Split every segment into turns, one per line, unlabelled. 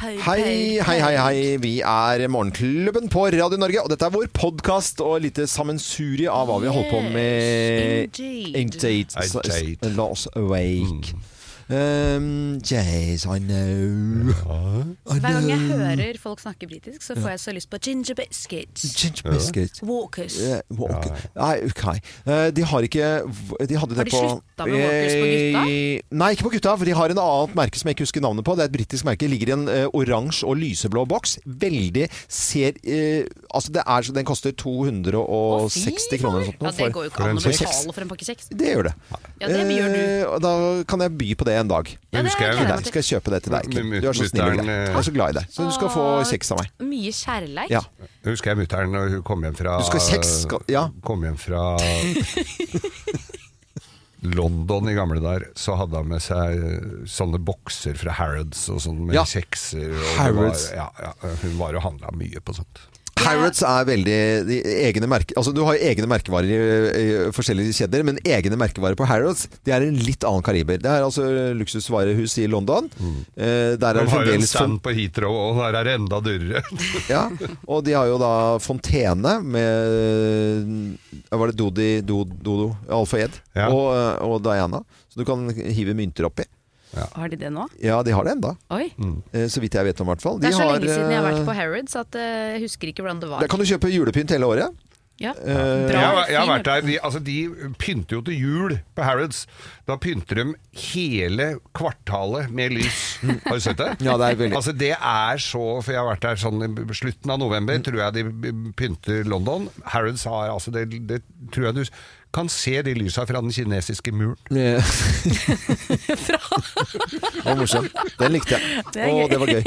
Hei, hei, hei, hei. Vi er Morgenklubben på Radio Norge, og dette er vår podkast og et lite sammensurie av hva vi har holdt på med.
Indeed.
Indeed.
Indeed.
S- Last awake. Um, yes, I know. I
Hver gang jeg
know.
hører folk snakke britisk, så får jeg så lyst på ginger biscuits.
Ginger biscuit.
Walkers.
Eh, walk. Nei, ok. Eh, De har ikke De hadde det
Har de
på
slutta med Walkers på gutta?
Eh, Nei, ikke på gutta, for de har en annet merke som jeg ikke husker navnet på. Det er et britisk merke. Ligger i en eh, oransje og lyseblå boks. Veldig ser eh, Altså, det er, så- den koster 260
Fy
kroner eller
faen.
sånt noe
Ja, det
for-
går jo ikke
for en
an å
kjeks.
betale for en pakke kjeks.
sånn det gjør det.
Ja, det gjør du.
Eh, og da kan jeg by på det en dag.
Ja, det
husker jeg
Til
gleder jeg
deg.
meg til.
Skal jeg kjøpe det til deg? Kim?
Mut-
Du er så snill og
mutter'n,
glad.
eh,
Jeg er så glad i deg. Så du skal få
Åh.
kjeks av meg.
Mye kjærleik.
Ja.
Jeg husker jeg mutter'n når hun kom hjem fra
Du skal ha kjeks, skal- ja.
Kom hjem fra London i gamle dager, så hadde han med seg eh, sånne bokser fra Harrods og sånn med
Ja.
kjekser. Og det
Harrods.
Var, ja, ja, hun var og handla mye på sånt.
Harrods er veldig de egne merke, altså Du har jo egne merkevarer i, i forskjellige kjeder, men egne merkevarer på Harrods Det er en litt annen kaliber. Det er altså luksusvarehus i London. Eh, der er det
Han Mm. har jo en
fremdeles
stand på Heathrow, og der er det enda dyrere.
ja, Og de har jo da fontene med Var det Dodi, Do- Dodo, Alfa Ed
Ja.
og, og Diana. Så du kan hive mynter oppi.
Har de det nå?
Ja, de har det enda
Oi.
Mm.
Eh, Så vidt jeg vet om, i hvert fall.
Det er
De
så
har,
lenge siden jeg har vært på
eh,
Harrods at eh, jeg husker ikke hvordan det var.
Der kan du kjøpe julepynt hele året.
Ja.
Eh,
Bra.
Jeg, har- jeg har
fin
vært der, de, altså, de pynter jo til jul på Harrods. Da pynter de hele kvartalet med lys. Har du sett det?
Ja, det er veldig-
Altså det er så For jeg har vært der sånn i slutten av november, tror jeg de pynter London. Harrods har altså det, det tror jeg du kan se de lysa fra den kinesiske muren.
Eh, Det var morsom. Den likte jeg.
Det er
Å,
gøy.
det var gøy.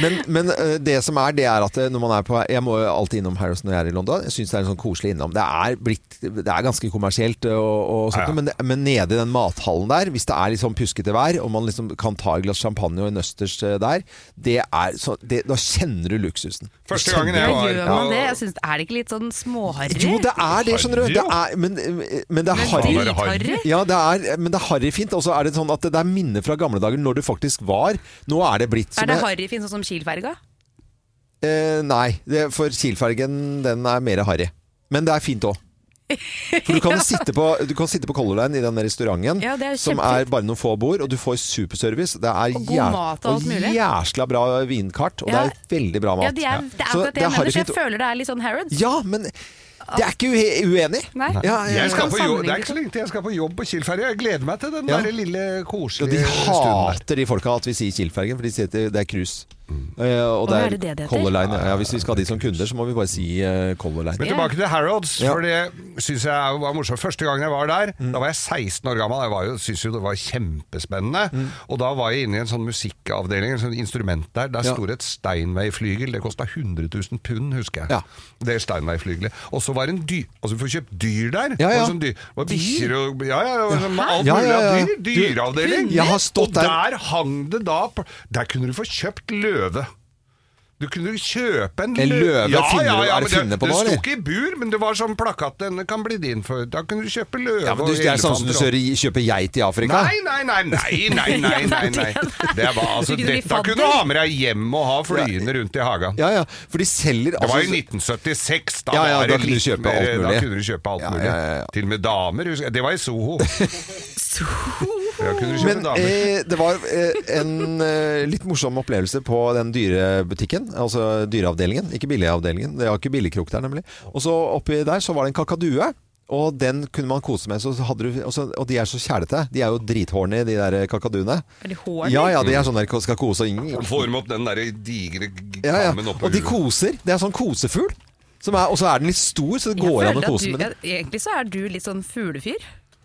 men, men eh, det som er, det er at eh, når man er på Jeg må jo alltid innom Harrods når jeg er i London. Jeg syns det er en sånn koselig innom. Det er, blitt, det er ganske kommersielt, eh, og, og sånt,
Ja, ja.
Men, det- men nede i den mathallen der, hvis det er litt sånn puskete vær, og man liksom kan ta et glass champagne og en østers eh, der, det er så, det, da kjenner du luksusen. Du
Første gangen jeg
Ja,
kjenner-
var
gjør man det? Jeg synes, er det ikke litt sånn småharry?
Jo, det er det, sånn- skjønner du. Det er, men, eh, men det er harry.
Harry.
Ja, det er, men det er harryfint. Og så er det sånn at det er minner fra gamle dager når du faktisk var. Nå er det blitt som
Er det
jeg-
harryfint sånn som Kiel-ferga?
Eh, nei, det, for Kiel-fergen den er mer harry. Men det er fint òg. For du kan, sitte på, du kan sitte på Color Line i den der restauranten
Ja, det er
som
kjempefint.
er bare noen få bord, og du får superservice. Det er
Og god
jæv-
mat og alt mulig.
jæsla bra vinkart, og
Ja.
det er veldig bra mat.
Ja, det er, det
Så
er akkurat det jeg mener, så
harryfint.
jeg føler det er litt sånn Harrods.
Ja, men det er ikke ue- uenig.
Nei.
Ja, ja, ja.
Jeg skal
Kan
på jobb, det
sammenligne
er ikke så lenge til jeg skal på jobb på Kiel-ferja. Jeg gleder meg til den
Ja.
der lille
Ja, de
koselige stunden der. Mm.
hater de folka at vi sier Kiel-fergen, for de sier at det- det er cruise. Eh, og det
Å,
er,
er det det det heter?
Color Line. Ja, hvis vi skal ha de som kunder, så må vi bare si eh, Color Line.
Men
Ja.
tilbake til Harrods,
Ja. Mm.
for det syns jeg var morsomt. Første gangen jeg var der, da var jeg 16 år gammel. Jeg var jo, syntes jo det var kjempespennende.
Mm.
Og da var jeg inne i en sånn musikkavdeling, en sånn instrument der. Der
Ja.
sto det et Steinway-flygel. Det kosta 100 000 pund, husker jeg.
Ja.
Det Steinway-flygelet. Og så var det en dyr Altså, du får kjøpt dyr der.
Ja, ja.
Det var sånn dyr. Det var bikkjer og Ja, ja, det var sånn, alt
Ja, ja,
mulig
ja.
av dyr. Dyreavdeling.
Du- Jeg har stått
og
der-
der hang det da på- Der kunne du få kjøpt løve. Du kunne kjøpe en
En løve? Finner du- er
men
det finne på
det
nå,
sto
eller?
ikke i bur, men det var sånn plakat 'Denne kan bli din for Da kunne du kjøpe løve
Ja, men du,
og
det er sånn som du
elefanter og-
kjører, kjøper geit i Afrika?
Nei, nei, nei, nei, nei, nei, nei, nei. Det var, altså,
Du kunne bli
Dette kunne du
fadder.
ha med deg hjem og ha flyende rundt i hagen.
Ja, ja, for de selger
Det var
altså-
jo 1976, da,
Ja, ja,
var
da
det
kunne du
litt
kjøpe
mer-
alt mulig.
Da kunne du kjøpe alt
Ja, ja,
mulig.
ja, ja.
Til og med damer. husker jeg. Det var i Soho. Da kunne du kjøpe
Men
damer.
eh, det var eh, en eh, litt morsom opplevelse på den dyrebutikken. Altså dyreavdelingen, ikke billigavdelingen. Det var ikke billigkrok der, nemlig. Og så oppi der så var det en kakadue. Og den kunne man kose med. Så hadde du, og, så, og de er så kjælete. De er jo drithorny, de der kakaduene.
Er det horn?
Ja, ja, de er sånn der skal kose og
Og Får dem opp den der digre g-
ja, ja.
kammen oppå
Og de
huet.
koser. Det er sånn kosefugl. Som er, og så er den litt stor, så det
Jeg
går an
føler
å
at
kose
du-
med den.
jeg- Egentlig så er du litt sånn fuglefyr.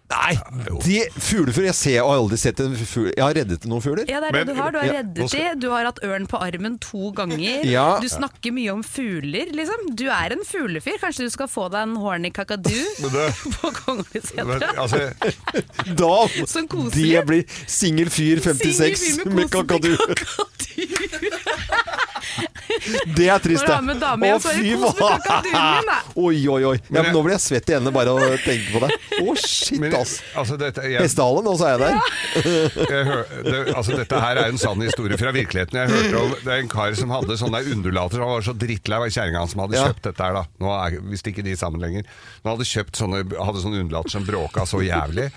Nei, de fuglefugl Jeg ser, jeg har aldri sett en fugl Jeg har reddet noen fugler.
Ja, det er
Men-
det du har. Du har
Ja, nå
reddet
skal-
det, du har hatt ørn på armen to ganger.
Ja.
Du snakker mye om fugler, liksom. Du er en fuglefyr. Kanskje du skal få deg en horny kakadu
Men det-
på
men,
Konglesetra?
altså,
Da
Som koselig.
Det blir singel fyr
Singel
56
fyr
med
kosete
kakadu.
kakadu.
Det er trist,
Når du har med dame igjen, så er det kos med kakaduren din, da.
Oi, oi, oi. Ja,
Men
men
jeg-
nå blir jeg svett i endene bare av å tenke på det. Å, shit,
Men,
ass.
altså, dette, jeg,
Hestehalen, og så er jeg der.
jeg hø, det, altså, dette her er en sann historie fra virkeligheten. Jeg hørte om det er en kar som hadde sånne undulater. Han var så drittlei av kjerringa hans som hadde
Ja.
kjøpt dette her, da. Nå er, hvis ikke de sammen lenger. Han hadde kjøpt sånne, hadde sånne undulater som bråka så jævlig.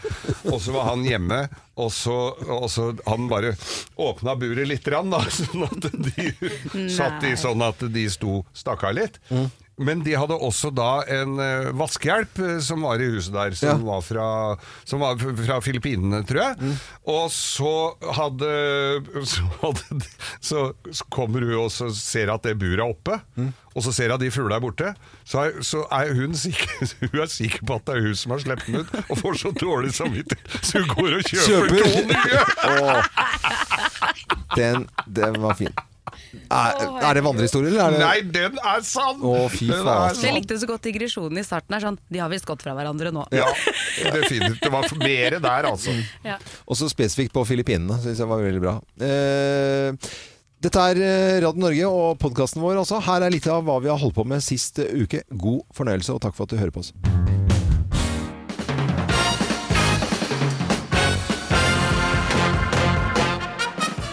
Og så var han hjemme, og så, og så han bare åpna buret litt, rann, da, sånn at de satt i
Nei.
sånn at de sto stakka litt. Men de hadde også da en eh, vaskehjelp eh, som var i huset der, som
Ja. Mm.
var fra, som var f- fra Filippinene, tror jeg. Og så hadde, så hadde de, Så kommer hun og så ser at det buret er oppe,
Mm.
og så ser hun at de fuglene er borte. Så er, så er hun, sikker, hun er sikker på at det er hun som har sluppet den ut, og får så dårlig samvittighet, så hun går og kjøper,
Kjøper.
to nye!
Den, den var fin. Er, er det vandrehistorie, eller? Er det...
Nei, den er sann!
Å, fy
Den er
faen.
Jeg
sann.
likte så godt digresjonen i starten. Er sånn, de har visst gått fra hverandre nå.
Ja, definitivt. Det var mere der, altså.
Ja.
Også spesifikt på Filippinene, syns jeg var veldig bra. Eh, dette er eh, Radio Norge og podkasten vår også. Her er litt av hva vi har holdt på med sist eh, uke. God fornøyelse, og takk for at du hører på oss.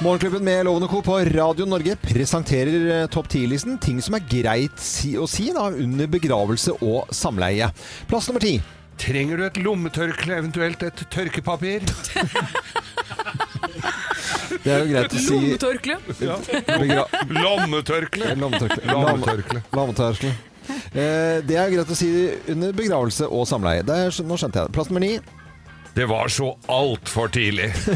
Morgenklubben med Loven og Co. på Radio Norge presenterer eh, topp 10-listen ting som er greit si å si da, under begravelse og samleie. Plass nummer ti.
Trenger du et lommetørkle, eventuelt et tørkepapir?
Det er jo greit å si
Lommetørkle.
begra
Lommetørkle!
Lommetørkle.
Lommetørkle.
Lommetørkle. Eh, det er greit å si under begravelse og samleie. Det er, nå skjønte jeg det. Plass nummer ni.
Det var så altfor tidlig.
Og så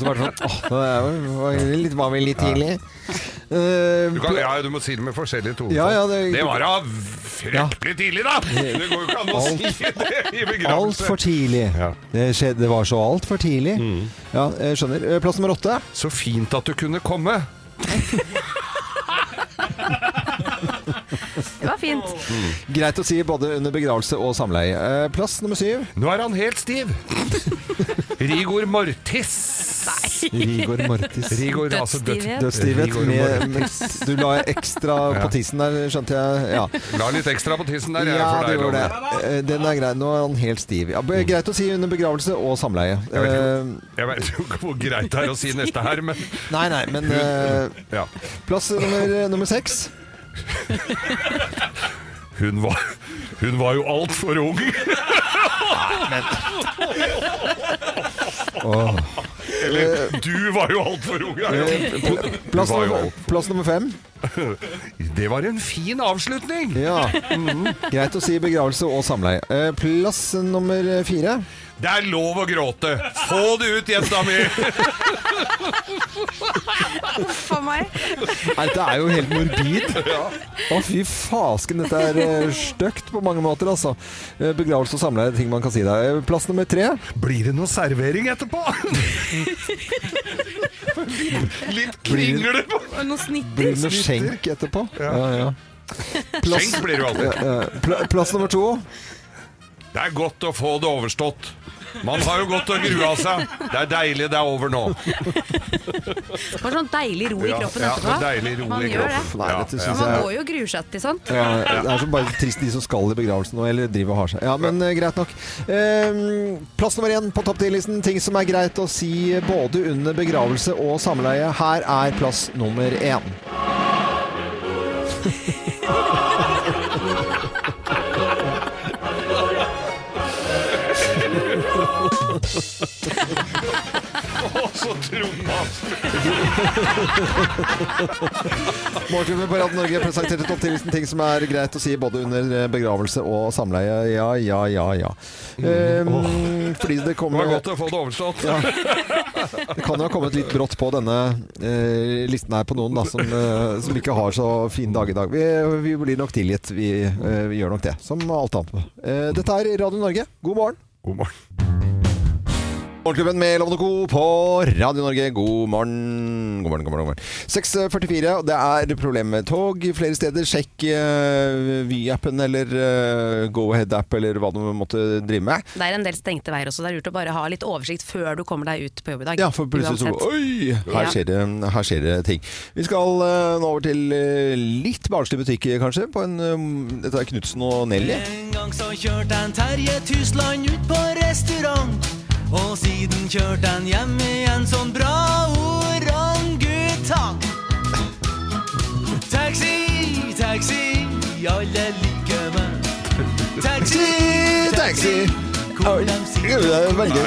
var det sånn Åh, det er jo- var jo litt, var vel litt tidlig. Eh,
Du, kan, ja, du må si det med forskjellige toner.
Ja, ja,
det,
det-
var da fryktelig tidlig, da! Det går jo ikke an å
Alt-
si det i
Altfor
begravelse.
tidlig.
Ja. Mm.
Det, skjedde, det var så altfor tidlig. Ja, jeg skjønner. Eh, Plass nummer åtte.
Så fint at du kunne komme.
Det var fint.
Mm.
Greit å si både under begravelse og samleie. Eh, Plass nummer syv.
Nå er han helt stiv. Rigor mortis.
Rigor mortis.
Rigor, altså dødt.
Dødsstivhet.
Dødsstivhet
Rigor
med, med
mortis.
Du la ekstra på tissen der, skjønte jeg. Ja.
La litt ekstra på tissen der, jeg,
Ja,
for
det
deg,
gjorde
Loven. Mm.
det. Eh, Den er grei. Nå er han helt stiv. Ja, be- greit å si under begravelse og samleie.
Jeg vet
Eh,
Jeg vet jo ikke hvor greit det er å si neste her, men
Nei, nei, men eh,
ja.
plass nummer, eh, nummer seks.
hun, var, hun var jo altfor ung.
Åh.
Eller du var jo altfor ung. er jo-
Eh, pl- Plass,
Du var jo
nummer- plass nummer fem.
Det var en fin avslutning. Mm.
Ja. Greit å si begravelse og samleie. Eh, Plass nummer fire.
Det er lov å gråte. Få det ut, jenta mi!
For meg.
Nei, dette er jo helt morbid. Å, fy fasken. Dette er eh, stygt på mange måter, altså. Eh, Begravelse og samleie er ting man kan si der. Eh, Plass nummer tre.
Blir det noe servering etterpå? Litt kringle på
Og noen snitter.
Blir det noe skjenk etterpå? Ja, ja.
Skjenk blir det jo alltid.
Eh, pl- Plass nummer to.
Det er godt å få det overstått. Man har jo godt å grue av seg. Det er deilig det er over nå.
Bare sånn deilig ro i kroppen
Ja,
etterpå.
det er deilig ro
Man
i
gjør det.
kroppen.
Nei,
Ja,
dette
ja.
synes
Man
jeg
går jo og gruer seg til sånn. sånt.
ja, Det er så bare trist de som skal i begravelsen nå, eller driver og har seg. Ja, men eh, greit nok. Ehm, plass nummer én på topp 10-listen. Ting som er greit å si både under begravelse og samleie. Her er plass nummer én.
Å, så tromma!
Morgenklubben på Radio Norge presenterte topp 10-listen ting som er greit å si både under eh, begravelse og samleie. Ja, ja, ja, ja. Ehm, Fordi det
Mm. Det
kommer
var godt å få det overstått.
Det kan jo ha kommet litt brått på denne eh, listen her på noen da, som, eh, som ikke har så fin dag i dag. Vi, vi blir nok tilgitt. Vi, eh, vi gjør nok det, som alt annet. Eh, dette er Radio Norge. God morgen.
God morgen.
Morgenklubben med Lovende Co. på Radio Norge. God morgen. God morgen, god morgen. god morgen. 6.44. og Det er problem med tog flere steder. Sjekk eh, Vy-appen eller eh, Go-Ahead-app eller hva du måtte drive med.
Det er en del stengte veier også, det er lurt å bare ha litt oversikt før du kommer deg ut på jobb i dag.
Ja, for plutselig så
Uansett.
Oi! Her
Ja.
skjer, det, her skjer det ting. Vi skal eh, nå over til eh, litt barnslig butikk, kanskje. På en, eh, dette er Knutsen og Nelly.
En gang så kjørte en Terje Tysland ut på restaurant. Og siden kjørte han hjem igjen som bra orangutang. Taxi, taxi, alle liker meg. Taxi,
Taxi,
hvor de
Ja,
sitter
Det er veldig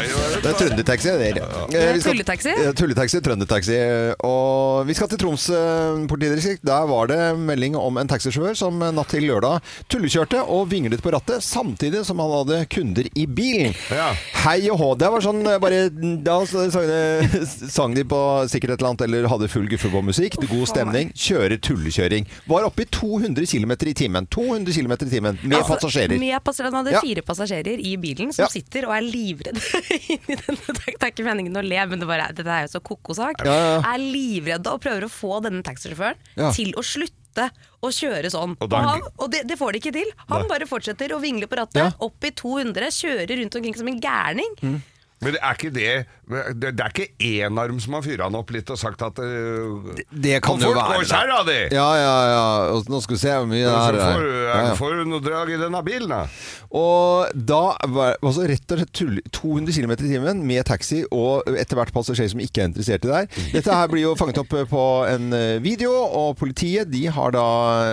Det er trøndertaxi. det er det. Eh, vi skal-
Tulletaxi?
Ja, Tulletaxi, trøndertaxi. Og vi skal til Troms eh, politidistrikt. Der var det melding om en taxisjåfør som eh, natt til lørdag tullekjørte og vinglet på rattet, samtidig som han hadde kunder i bilen.
Ja.
Hei og hå. Det var sånn eh, bare Da s- sang de, sang de på sikkert et eller annet, eller hadde full guffe på musikk. Det er God
Uff, faen
stemning. Kjører tullekjøring. Var oppe i 200 km i timen. 200 km i timen med
Altså,
passasjerer.
Med passasjerer. Han hadde
Ja.
fire passasjerer i bilen som
Ja.
sitter og er livredde inni denne Det er ikke meningen å le, men det bare, er- dette er jo så ko-ko sak.
Ja, ja.
Er livredde og prøver å få denne taxisjåføren
Ja.
til å slutte å kjøre sånn.
Og
Og,
da-
han, og det, det får de ikke til. Han bare fortsetter å vingle på rattet,
Ja.
opp i 200, kjører rundt omkring som en gærning.
Mm. Men det er ikke det Det, det er ikke enarm som har fyrt han opp litt og sagt at øh,
det kan jo
folk
være, da.
går seg, da, de!
Ja, ja, ja. Og nå skal vi se hvor eh, mye det
Så
er.
får,
her.
er,
Ja, ja.
får du noe drag i denne bilen, da?
Og da var altså rett og slett tull- 200 km i timen med taxi og etter hvert passasjer som ikke er interessert i det her. Dette her blir jo fanget opp eh, på en eh, video, og politiet de har da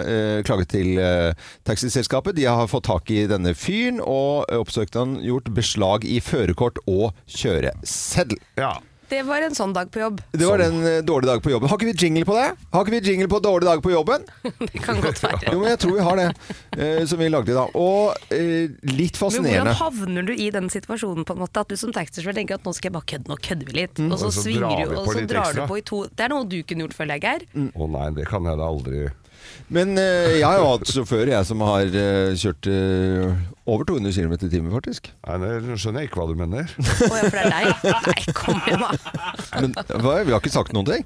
eh, klaget til eh, taxiselskapet. De har fått tak i denne fyren og eh, oppsøkt han gjort beslag i førerkort og kjøreseddel.
Ja.
Det var en sånn dag på jobb.
Det var den eh, dårlige dag på jobben. Har ikke vi jingle på det? Har ikke vi jingle på dårlig dag på jobben?
Det kan godt være.
Jo, men jeg tror vi har det, eh, som vi lagde i dag. Og eh, litt
Men hvordan
fascinerende.
havner du i den situasjonen på en måte at du som taxisjåfør tenker at nå skal jeg bare kødde, nå kødder vi
Mm.
litt, og så,
Og så drar
svinger
vi
du, og
på
så
litt
drar du
ekstra.
på i to Det er noe du kunne gjort, føler jeg, Geir.
Å nei, det kan jeg da aldri
Mm. Men eh, jeg har jo hatt sjåfører jeg som har eh, kjørt eh, over 200 km i timen, faktisk.
Nei, det skjønner jeg ikke hva du mener.
Å ja, for det er deg? Nei, kom igjen, da.
Men hva, vi har ikke sagt noen ting.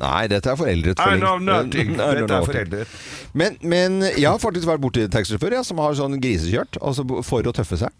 Nei, dette er foreldret. for
I
lenge-
know nothing.
I know
Dette er
nothing.
foreldret.
Men, men jeg har faktisk vært borti taxisjåfør ja, som har sånn grisekjørt, altså b- for å tøffe seg.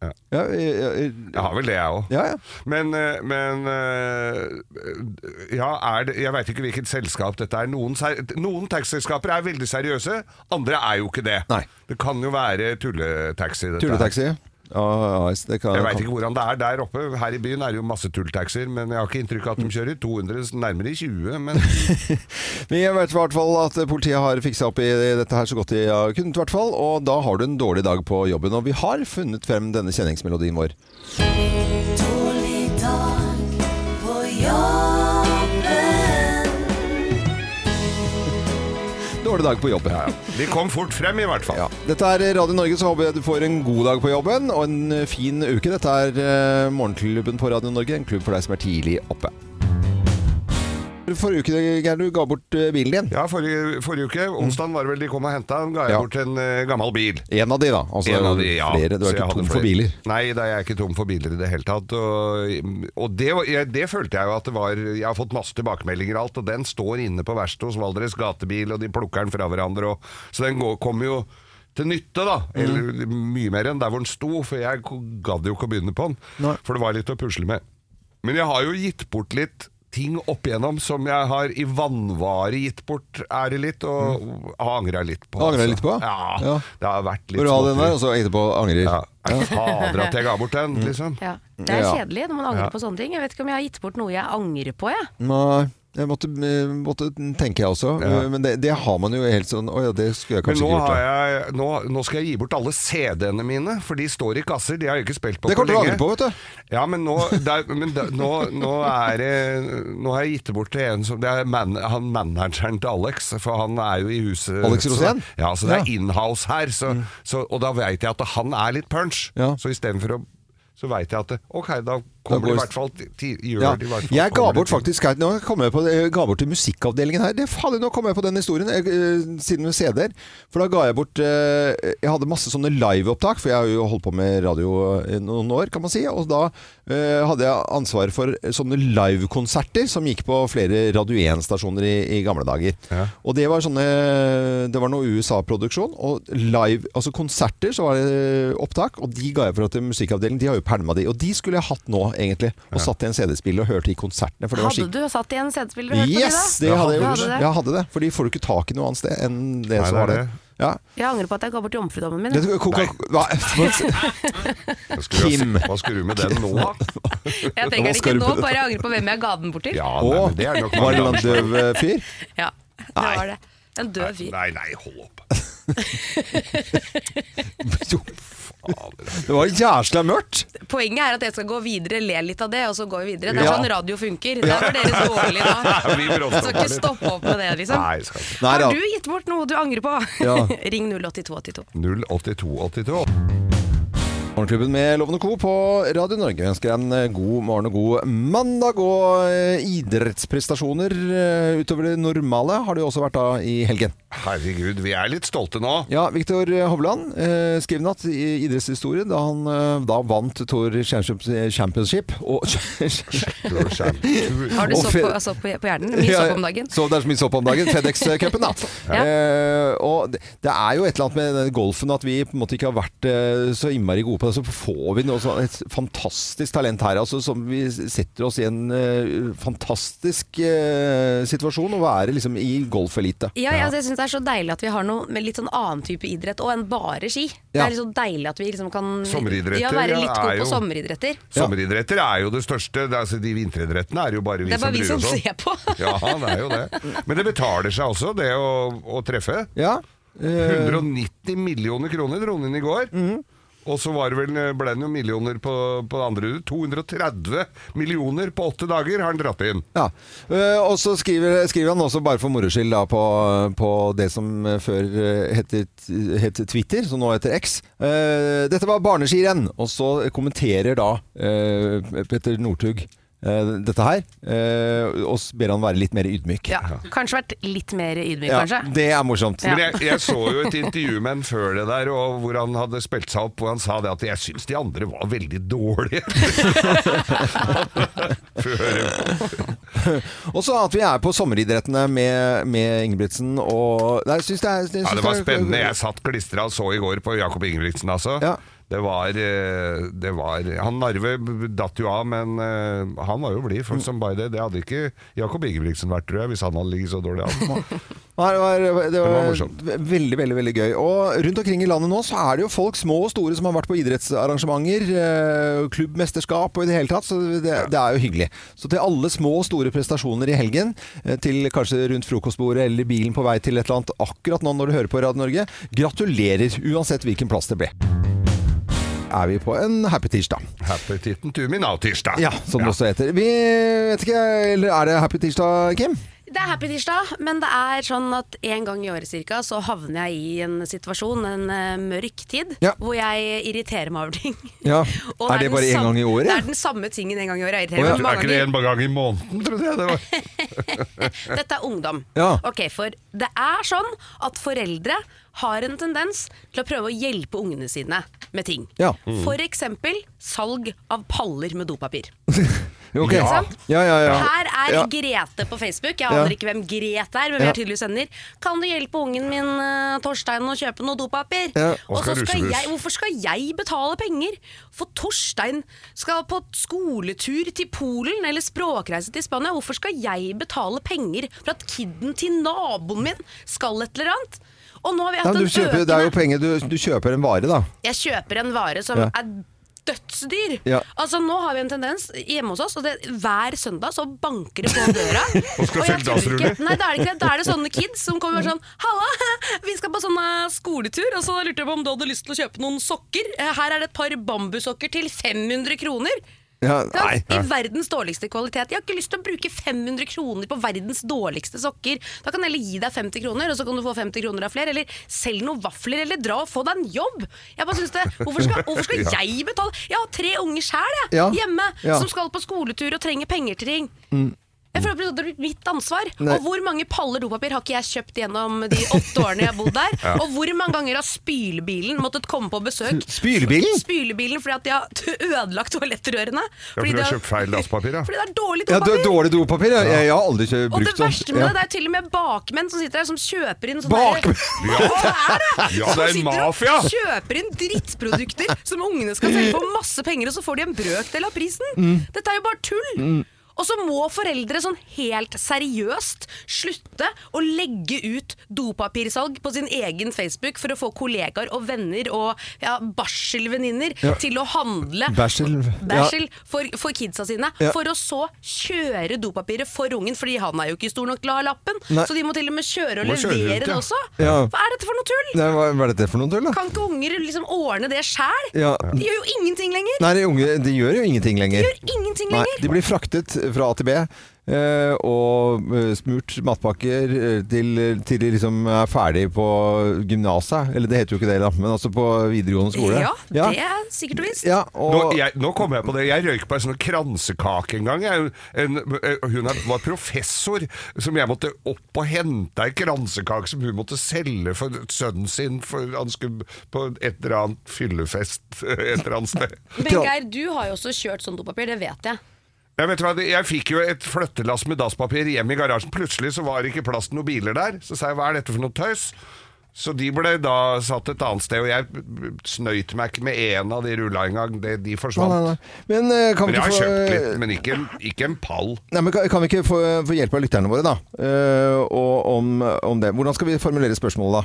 Ja.
Ja, eh,
Jeg har vel det, jeg òg.
ja, ja.
Men, eh, men eh, ja, er det, jeg veit ikke hvilket selskap dette er. Noen, ser- noen taxiselskaper er veldig seriøse, andre er jo ikke det.
Nei.
Det kan jo være tulletaxi. dette her.
Tulletaxi. AS, det kan,
Jeg veit ikke hvordan det er der oppe. Her i byen er det jo masse tulltaxier, men jeg har ikke inntrykk av
Mm.
at de kjører 200, nærmere 20. Men
Vi vet i hvert fall at politiet har fiksa opp i dette her så godt de har kunnet, i hvert fall. Og da har du en dårlig dag på jobben. Og vi har funnet frem denne kjenningsmelodien vår.
Dårlig dag på jobben.
Dårlig dag på jobben.
de kom fort frem, i hvert fall.
Ja. Dette er Radio Norge, så håper jeg du får en god dag på jobben og en fin uke. Dette er eh, Morgenklubben på Radio Norge, en klubb for deg som er tidlig oppe. Forrige uke, Geir, du ga bort eh, bilen din. Mm.
Ja, forrige, forrige uke, onsdag var det vel de kom og henta, ga jeg
Ja.
bort en eh, gammel bil.
En av de, da. Altså,
En av de, ja.
flere. Du
Så
er
jeg
ikke
hadde
tom
flere.
for biler.
Nei, da, jeg er ikke tom for biler i det hele tatt. Og, og det, var- jeg, det følte jeg jo at det var Jeg har fått masse tilbakemeldinger og alt, og den står inne på verkstedet hos Valdres Gatebil, og de plukker den fra hverandre, og, så den går- kommer jo til nytte, da. Eller mye mer enn der hvor den sto, for jeg ko- gadd jo ikke å begynne på den.
Nei.
For det var litt å pusle med. Men jeg har jo gitt bort litt ting opp igjennom som jeg har i vannvare gitt bort ære litt, og har angra litt på.
Mm.
altså.
Angrer litt på?
Ja,
Ja.
Det har vært litt
Bør du ha
småtteri.
den der, og så etterpå angrer?
Altså, Ja. Nei, Fader at jeg ga bort den, liksom.
Ja. Det er
Ja.
kjedelig når man
Ja.
angrer på sånne ting. Jeg vet ikke om jeg har gitt bort noe jeg angrer på, jeg.
Nei. Jeg måtte, eh, måtte tenke, jeg også.
Ja.
Eh, Men det, det har man jo helt sånn Å ja, det skulle jeg
Men
kanskje
nå,
ikke
har
gjort.
jeg, nå, nå skal jeg gi bort alle CD-ene mine, for de står i kasser. De har jeg ikke spilt på
Det kommer
på
du til å
lenge.
angre på, vet du.
Ja, men nå, det er, men det, nå, nå er det Nå har jeg gitt det bort til en som Det er man, han manageren til Alex, for han er jo i huset
Alex Rosén?
Så, ja, så det er
Ja. Mm.
inhouse her, så, så, og da veit jeg at han er litt punch.
Ja.
Så istedenfor å Så veit jeg at det, Ok, da kommer
går-
i hvert fall ti- ti, gjør
Ja.
det i hvert fall.
Jeg ga
kommer det
bort
til-
faktisk Nå kom jeg, på, jeg ga bort til musikkavdelingen her. Det, fader, nå kom jeg på den historien, jeg, eh, siden med CD-er. For da ga jeg bort eh, Jeg hadde masse sånne liveopptak, for jeg har jo holdt på med radio i noen år, kan man si. Og da eh, hadde jeg ansvaret for sånne livekonserter som gikk på flere Radio 1-stasjoner i, i gamle dager.
Ja.
Og det var sånne Det var noe USA-produksjon. Og live, altså konserter, så var det opptak. Og de ga jeg fra til musikkavdelingen. De har jo pælma de. Og de skulle jeg hatt nå, egentlig. Og satt i en CD-spill og hørt i konsertene. For det var
Hadde
skikk...
du satt i en CD-spiller og hørt på de da?
Yes! Det hadde jeg
Du
gjort.
det.
Jeg hadde det. For de får du ikke tak i noe annet sted enn det
Nei,
som
det er
var det.
det.
Ja.
Jeg angrer på at jeg ga bort jomfrudommen min.
Det,
jeg.
Coca Hva?
Hva skulle du-
Kim.
Hva skulle du med den nå? da?
Jeg trenger
Hva
det
skal
ikke
du
nå,
på det?
bare jeg angrer på hvem jeg ga den bort til.
Ja, nei,
Å,
men det er nok
var det en døv eh, fyr?
Ja, det var det. En død fyr.
Nei, nei, hold opp.
Jo,
Fader.
det var jæsla mørkt!
Poenget er at jeg skal gå videre, le litt av det, og så går vi videre. Det er
Ja.
sånn radio funker. Det er for dere dårlige nå.
Vi
Du skal ikke stoppe opp med det, liksom.
Nei, skal ikke.
Nei, da.
Har du gitt bort noe du angrer på?
Ja.
Ring 08282.
08282.
Morgenklubben med Lovende Co. på Radio Norge ønsker en eh, god morgen og god mandag. Og eh, idrettsprestasjoner eh, utover det normale har det jo også vært da i helgen.
Herregud, vi er litt stolte nå.
Ja, Viktor Hovland eh, skrev natt i idrettshistorie da han eh, da vant Tour Championship, Championship og
Har du
Og
sopp
fe-
på, sopp på, på hjernen? Mye sopp om dagen?
Så det er så mye sopp om dagen. FedEx-cupen, da.
Ja.
Eh, og det, det er jo et eller annet med denne golfen at vi på en måte ikke har vært eh, så innmari gode på det. Så får vi noe sånn, et fantastisk talent her, altså, som vi setter oss i en eh, fantastisk eh, situasjon å være liksom i golfelite.
Ja, jeg- altså, jeg syns det er så deilig at vi har noe med litt sånn annen type idrett òg enn bare ski. Det
Ja.
er litt så deilig at vi liksom kan
Sommeridretter,
ja, være
ja,
litt
er
gode
jo-
på sommeridretter.
Sommeridretter er jo det største. Det er, altså, de vinteridrettene er jo bare vi
Det er bare vi
bryr
som
oss om.
ser på.
sånn. Ja, det er jo det. Men det betaler seg også, det å, å treffe.
Ja. Eh, Mhm.
190 millioner kroner dro han inn i går. Og så var det vel, ble det noen millioner på, på det andre. 230 millioner på åtte dager har han dratt inn.
Ja. Eh, og så skriver, skriver han også, bare for moro skyld, da, på, på det som før eh, heter, het Twitter, som nå heter X. Eh, dette var barneskirenn. Og så kommenterer da eh, Petter Northug eh, dette her, eh, og s- ber han være litt mer ydmyk.
Ja, kanskje vært litt mer ydmyk,
Ja,
kanskje.
det er morsomt.
Ja.
Men
Men jeg, jeg så jo et intervju med en før det der, og hvor han hadde spilt seg opp, hvor han sa det at 'jeg syns de andre var veldig dårlige'. før,
jeg- Og så at vi er på sommeridrettene med, med Ingebrigtsen og Nei, jeg syns det er jeg
ja,
syns
det var spennende. Jeg satt klistra og så i går på Jakob Ingebrigtsen, altså.
Ja.
Det var, eh, det var Han Narve datt jo av, men eh, han var jo blid. Folk som bare det. Det hadde ikke Jakob Ingebrigtsen vært, tror jeg, hvis han hadde ligget så dårlig an.
Nei, Det var, det var,
var morsomt.
ve- veldig, veldig veldig gøy. Og Rundt omkring i landet nå så er det jo folk, små og store, som har vært på idrettsarrangementer, eh, klubbmesterskap og i det hele tatt. Så det, det er jo hyggelig. Så til alle små og store prestasjoner i helgen, eh, til kanskje rundt frokostbordet eller i bilen på vei til et eller annet akkurat nå når du hører på Radio Norge, gratulerer uansett hvilken plass det ble. Er vi på en happy tirsdag?
Happy titten to me now, tirsdag.
Ja, som det også heter. Vi vet ikke Eller er det happy tirsdag, Kim?
Det er happy tirsdag, men det er sånn at en gang i året cirka, så havner jeg i en situasjon, en eh, mørk tid,
Ja.
hvor jeg irriterer meg over ting.
Ja.
Og
Er det
den
bare én
sam-
gang i året?
Det er den samme tingen en gang i året. Jeg
Å, ja.
irriterer meg
Er
mange
ikke det
ganger.
en gang i måneden, trodde jeg det var?
Dette er ungdom.
Ja.
Ok, For det er sånn at foreldre har en tendens til å prøve å hjelpe ungene sine med ting.
Ja.
Mm.
For eksempel salg av paller med dopapir.
Ok.
Ikke sant?
Ja, ja, ja.
Her er
Ja.
Grete på Facebook. Jeg
Ja.
aner ikke hvem Grete er, men vi
Ja.
er tydeligvis venner. Kan du hjelpe ungen min eh, Torstein å kjøpe noe dopapir?
Ja.
Og
Og så
skal
skal
russebuss.
jeg, hvorfor skal jeg betale penger? For Torstein skal på skoletur til Polen eller språkreise til Spania. Hvorfor skal jeg betale penger for at kidden til naboen min skal et eller annet? Og nå har vi
Ja,
hatt
men du
en
kjøper, det er jo
økende
penger, du, du kjøper en vare da
jeg kjøper en vare som
Ja.
er dødsdyr.
Ja.
Altså Nå har vi en tendens hjemme hos oss, og det, hver søndag så banker det på døra.
Og skal
jeg
selge
tror
dassruller.
ikke- Nei, da er det ikke det. Da er det sånne kids som kommer og er sånn Halla, vi skal på sånn eh, skoletur, og så lurte jeg på om du hadde lyst til å kjøpe noen sokker. Eh, Her er det et par bambussokker til 500 kroner.
Ja,
Ja,
nei.
I verdens dårligste kvalitet. Jeg har ikke lyst til å bruke 500 kroner på verdens dårligste sokker. Da kan jeg heller gi deg 50 kroner, og så kan du få 50 kroner av flere. Eller selg noen vafler, eller dra og få deg en jobb. Jeg bare synes det, Hvorfor skal, hvorfor skal jeg betale? Jeg har tre unger sjæl
Ja.
hjemme
Ja.
som skal på skoletur og trenger penger til ting.
Mm,
Jeg føler at Det blir mitt ansvar.
Nei.
Og hvor mange paller dopapir har ikke jeg kjøpt gjennom de åtte årene jeg har bodd der? Og hvor mange ganger har spylebilen måttet komme på besøk?
Spylebilen?
Spylebilen fordi at de har ødelagt toalettrørene.
for
Fordi
du har
det-
kjøpt feil dasspapir, ja.
Fordi det er dårlig
Ja, du
dopapir.
har dårlig dopapir. Jeg, jeg har aldri kjø-
og
brukt sånn.
det verste med det, det
Ja.
er til og med bakmenn som sitter her som kjøper inn sånne
Bakmenn?
Ja. Hva er det?
Ja,
Som
det er en
sitter og
mafia.
Kjøper inn drittprodukter som ungene skal selge for masse penger, og så får de en brøkdel av prisen.
Mm.
Dette er jo bare tull.
Mm.
Og så må foreldre sånn helt seriøst slutte å legge ut dopapirsalg på sin egen Facebook for å få kollegaer og venner og ja, barselvenninner
Ja.
til å handle
Bæsjel. Ja.
bæsj for, for kidsa sine,
Ja.
for å så kjøre dopapiret for ungen, fordi han er jo ikke stor nok til å ha lappen.
Nei.
Så de må til og med kjøre og
Må kjøre
levere
rundt,
det
ja.
også.
Ja.
Hva er dette for noe tull?
Nei, hva, hva er dette for noe tull, da?
Kan ikke unger liksom ordne det sjæl?
Ja.
De gjør jo ingenting lenger!
Nei, de unge de gjør jo ingenting lenger.
De gjør ingenting
Nei,
lenger!
de blir fraktet fra A til B. eh, og eh, smurt matpakker eh, til, til de liksom er ferdig på gymnaset. Eller det heter jo ikke det, da, men altså på videregående skole.
Ja, det er sikkert og visst.
Ja,
Nå,
og,
jeg, nå kom jeg på det. Jeg røyk på en sånn kransekake en gang. Jeg, en, eh, hun er, var professor som jeg måtte opp og hente ei kransekake som hun måtte selge for sønnen sin for han skulle på et eller annet fyllefest et eller annet sted.
Men Geir, du har jo også kjørt sånn dopapir, det vet jeg.
Jeg, vet du hva, jeg fikk jo et flyttelass med dasspapir hjem i garasjen. Plutselig så var det ikke plass til noen biler der. Så sa jeg hva er dette for noe tøys? Så de ble da satt et annet sted, og jeg snøyt meg ikke med én av de rulla engang. De, de
nei,
forsvant.
nei, nei. Men, eh, kan,
Men
vi
jeg har
ikke
kjøpt litt,
få,
men ikke, en- ikke en pall.
nei, men kan, kan vi ikke få, få hjelp av lytterne våre, da? Eh, og om, om det. Hvordan skal vi formulere spørsmålet, da?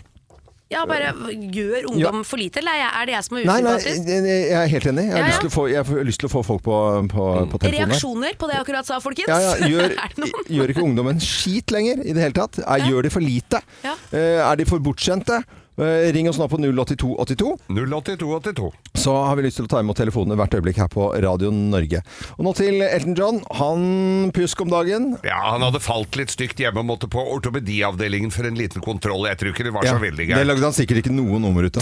Ja, bare Gjør ungdom for lite, eller er jeg- er det jeg som er
Nei, nei,
usympatisk?
jeg jeg er helt enig. Jeg har,
Ja, ja.
Lyst, til å få, jeg har lyst til å få folk på, på, på telefonen. her.
Reaksjoner på det jeg akkurat sa, folkens?
Ja, ja, gjør,
er det noen?
gjør ikke ungdommen skit lenger i det hele tatt? Er, Gjør de for lite?
Ja.
Eh, er de for bortskjemte? Eh, ring oss nå på 08282,
08282.
så har vi lyst til å ta imot telefonene hvert øyeblikk her på Radio Norge. Og nå til Elton John. Han pjusk om dagen.
Ja, han hadde falt litt stygt hjemme og måtte på ortopediavdelingen for en liten kontroll. Jeg tror ikke det var så
Ja,
veldig
det
gærent.
lagde han sikkert ikke noe nummer ut av.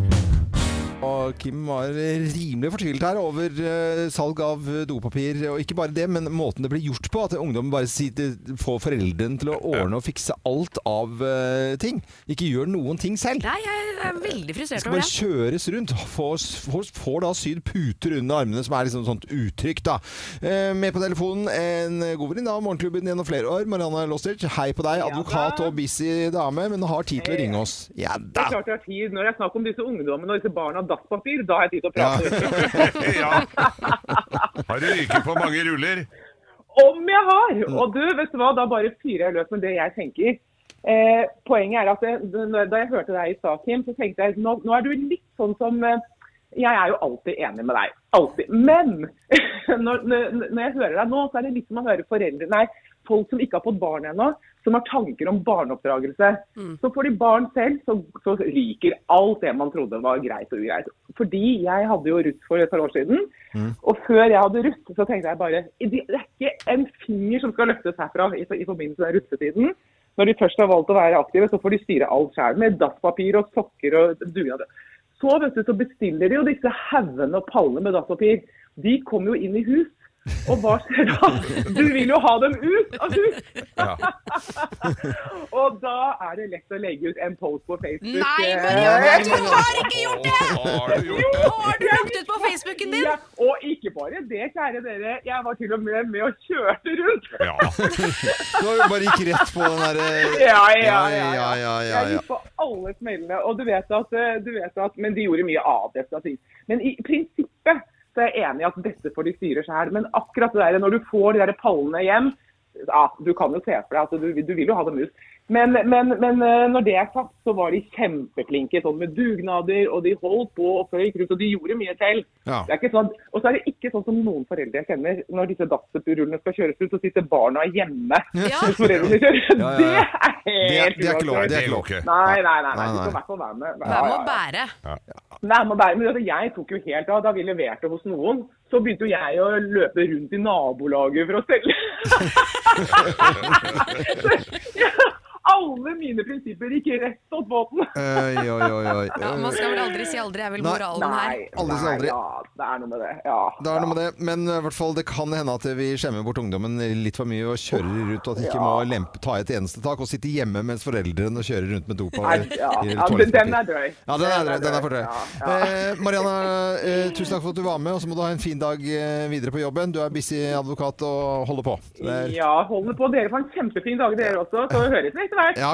Og Kim var rimelig fortvilet her over eh, salg av dopapir. Og ikke bare det, men måten det blir gjort på. At ungdommen bare sitter, får foreldrene til å ordne og fikse alt av eh, ting. Ikke gjør noen ting selv.
Nei, jeg er veldig frustrert
Skal
over
bare
det.
kjøres rundt. Får, får, får da sydd puter under armene, som er liksom sånt uttrykk, da. Eh, med på telefonen en god venninne av Morgenklubben gjennom flere år, Marianne Lostic. Hei på deg, advokat og busy dame, men har tid til å ringe oss. Ja
Det
da!
er klart jeg har tid. Når det er snakk om disse ungdommene og disse barna har dasspapir, da har jeg tid til å prate.
ja. Har du ryket på mange ruller?
Om jeg har! Og du, vet du hva, da bare fyrer jeg løs med det jeg tenker. Eh, poenget er at det, det- da jeg hørte deg i stad, Kim, så tenkte jeg nå, nå er du litt sånn som eh, Jeg er jo alltid enig med deg. Alltid. Men når, når når jeg hører deg nå, så er det litt som å høre foreldre Nei, folk som ikke har fått barn ennå, som har tanker om barneoppdragelse.
Mm.
Så får de barn selv, så, så ryker alt det man trodde var greit og ugreit. Fordi jeg hadde jo russ for et par år siden.
mm.
Og før jeg hadde russ, så tenkte jeg bare Det er ikke en finger som skal løftes herfra i, i forbindelse med russetiden. Når de først har valgt å være aktive, så får de styre alt sjøl. Med dasspapir og sokker og dugnad. Så vet du, så bestiller de jo disse haugene og pallene med dasspapir. De kommer jo inn i hus. Og hva skjer da? Du vil jo ha dem ut av hus!
Ja.
og da er det lett å legge ut en post på Facebook.
Nei,
eh,
Marianne, du har ikke gjort det!
Har du gjort det?
Har du lagt ut på Facebooken din?
Ja, og ikke bare det, kjære dere. Jeg var til og med med og kjørte rundt.
Ja.
Du har jo bare gikk rett på den derre
Ja, ja,
Ja,
ja.
ja, ja, ja,
Jeg
ja.
gikk på alle smellene. Og du vet at, eh, du vet at Men de gjorde mye av det. skal jeg si. Men i prinsippet så er jeg enig i at dette får de styre sjøl. Men akkurat det der når altså, du får de der pallene hjem ja, Du kan jo se for deg at du, du vil jo ha dem ut. Men, men, men eh, når det er sagt, så var de kjempeflinke sånn med dugnader, og de holdt på og fløy rundt, og de gjorde mye til.
Ja.
Det er ikke sånn, og så er det ikke sånn som noen foreldre jeg kjenner, når disse dagsrullene skal kjøres ut, så sitter barna hjemme
Ja.
mens foreldrene kjører.
Ja, ja, ja.
Det er
Det er,
helt
det er ikke lov.
uaktuelt.
Det er ikke lov.
Det er jo ikke.
Nei, nei, nei. nei. Du
Nei, nei.
skal i hvert fall være med.
Hvem må
Ja, ja, ja.
bære?
Nei, men der, men altså, jeg tok jo helt av. Da vi leverte hos noen, så begynte jo jeg å løpe rundt i nabolaget for å selge. Så, ja, alle mine prinsipper gikk rett åt båten.
Oi, oi, oi, oi.
Ja, man skal vel aldri si aldri, er vel
Nei.
moralen her.
Nei,
Aldri si
nei,
aldri.
Ja, det er noe med det. Ja,
Det er
ja.
noe med det, men eh, i hvert fall det kan hende at vi skjemmer bort ungdommen litt for mye og kjører rundt, og at de ikke
Ja.
må lempe, ta et eneste tak og sitte hjemme mens foreldrene kjører rundt med
Nei,
dopapir.
ja.
i
ja, den- den er drøy.
Ja, den er, den er for drøy.
Ja, ja.
Eh, Marianne, eh, tusen takk for at du var med, og så må du ha en fin dag eh, videre på jobben. Du er busy advokat og holder på. Så det er-
Ja, hold det på. Dere får en kjempefin dag, dere også. Så høres vi etter hvert.
Ja,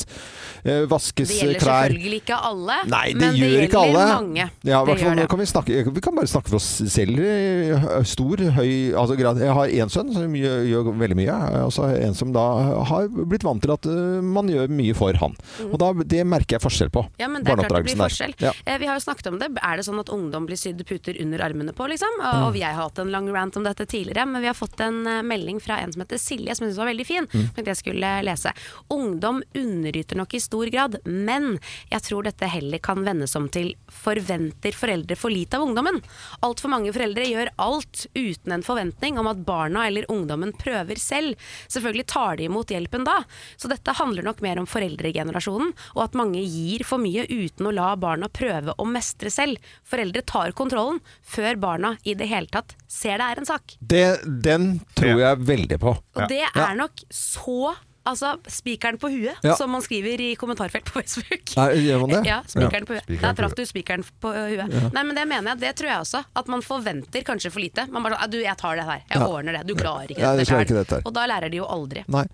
eh, vaskes
Det gjelder
klær.
selvfølgelig ikke alle,
Nei, det
men det
gjør ikke alle.
gjelder mange.
Ja, i
Det
hvert fall
gjør
nå
det.
kan vi, snakke, vi kan bare snakke for oss selv. i hø- Stor, høy altså grad. Jeg har én sønn som gjør, gjør veldig mye. Og så har jeg en som da har blitt vant til at øh, man gjør mye for han. Og da, det merker jeg forskjell på.
Mm. Ja, men det er klart det blir
barneoppdragelsen
forskjell.
der. Ja.
Eh, vi har jo snakket om det. Er det sånn at ungdom blir sydd puter under armene på, liksom? Og,
Mm.
og jeg har hatt en lang rant om dette tidligere, men vi har fått en eh, melding fra en som heter Silje, som jeg syntes var veldig fin. Tenkte jeg skulle lese. Ungdom underyter nok i stor grad, men jeg tror dette heller kan vendes om til forventer foreldre for lite av ungdommen. Altfor mange foreldre gjør alt uten en forventning om at barna eller ungdommen prøver selv. Selvfølgelig tar de imot hjelpen da. Så dette handler nok mer om foreldregenerasjonen, og at mange gir for mye uten å la barna prøve å mestre selv. Foreldre tar kontrollen før barna i det hele tatt ser det er en sak.
Det, den tror jeg veldig på.
Og det
Ja.
er nok så Altså spikeren på huet,
Ja.
som man skriver i kommentarfelt på Facebook.
Nei, gjør man det?
Ja, spikeren på huet.
Spikeren
Der
på
traff du spikeren på ø, huet. Nei, men det mener jeg, det tror jeg også. At man forventer kanskje for lite. Man bare sånn, «Ah, du, jeg tar det her, jeg
Ja.
ordner det. Du klarer ikke
Ja,
dette
jeg klarer ikke
selv.»
dette her.
Og da lærer de jo aldri.
Nei.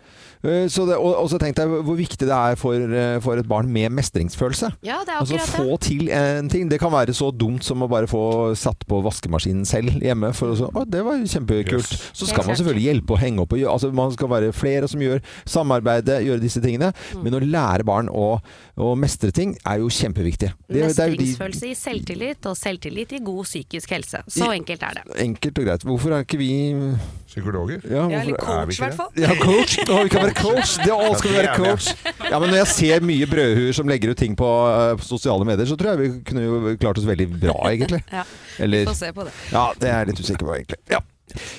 Eh, Så det, og, og så tenkte jeg hvor viktig det er for, eh, for et barn med mestringsfølelse.
Ja, det er
altså
akkurat det.
få til en ting. Det kan være så dumt som å bare få satt på vaskemaskinen selv hjemme. For å så, å, det var jo kjempekult.
Yes.
Så
Helt
skal man
klart.
selvfølgelig hjelpe og henge opp. Og gjøre, altså, man skal være flere som gjør samarbeide, gjøre disse tingene.
Mm.
Men å lære barn å, å mestre ting er jo kjempeviktig. Det, det er jo de
Mestringsfølelse i selvtillit, og selvtillit i god psykisk helse. Så
I-
enkelt er det.
Enkelt og greit. Hvorfor er ikke vi
Psykologer?
ja,
Jeg er
hvorfor,
er vi ikke
litt coach, i hvert fall.
Ja, coach. Å, vi kan være coach. Det, å, skal vi være coach. Ja, men Når jeg ser mye brødhuer som legger ut ting på, eh, på sosiale medier, så tror jeg vi kunne jo klart oss veldig bra, egentlig.
Ja,
Eller
Få se på det.
Ja, det er jeg litt usikker på, egentlig. Ja.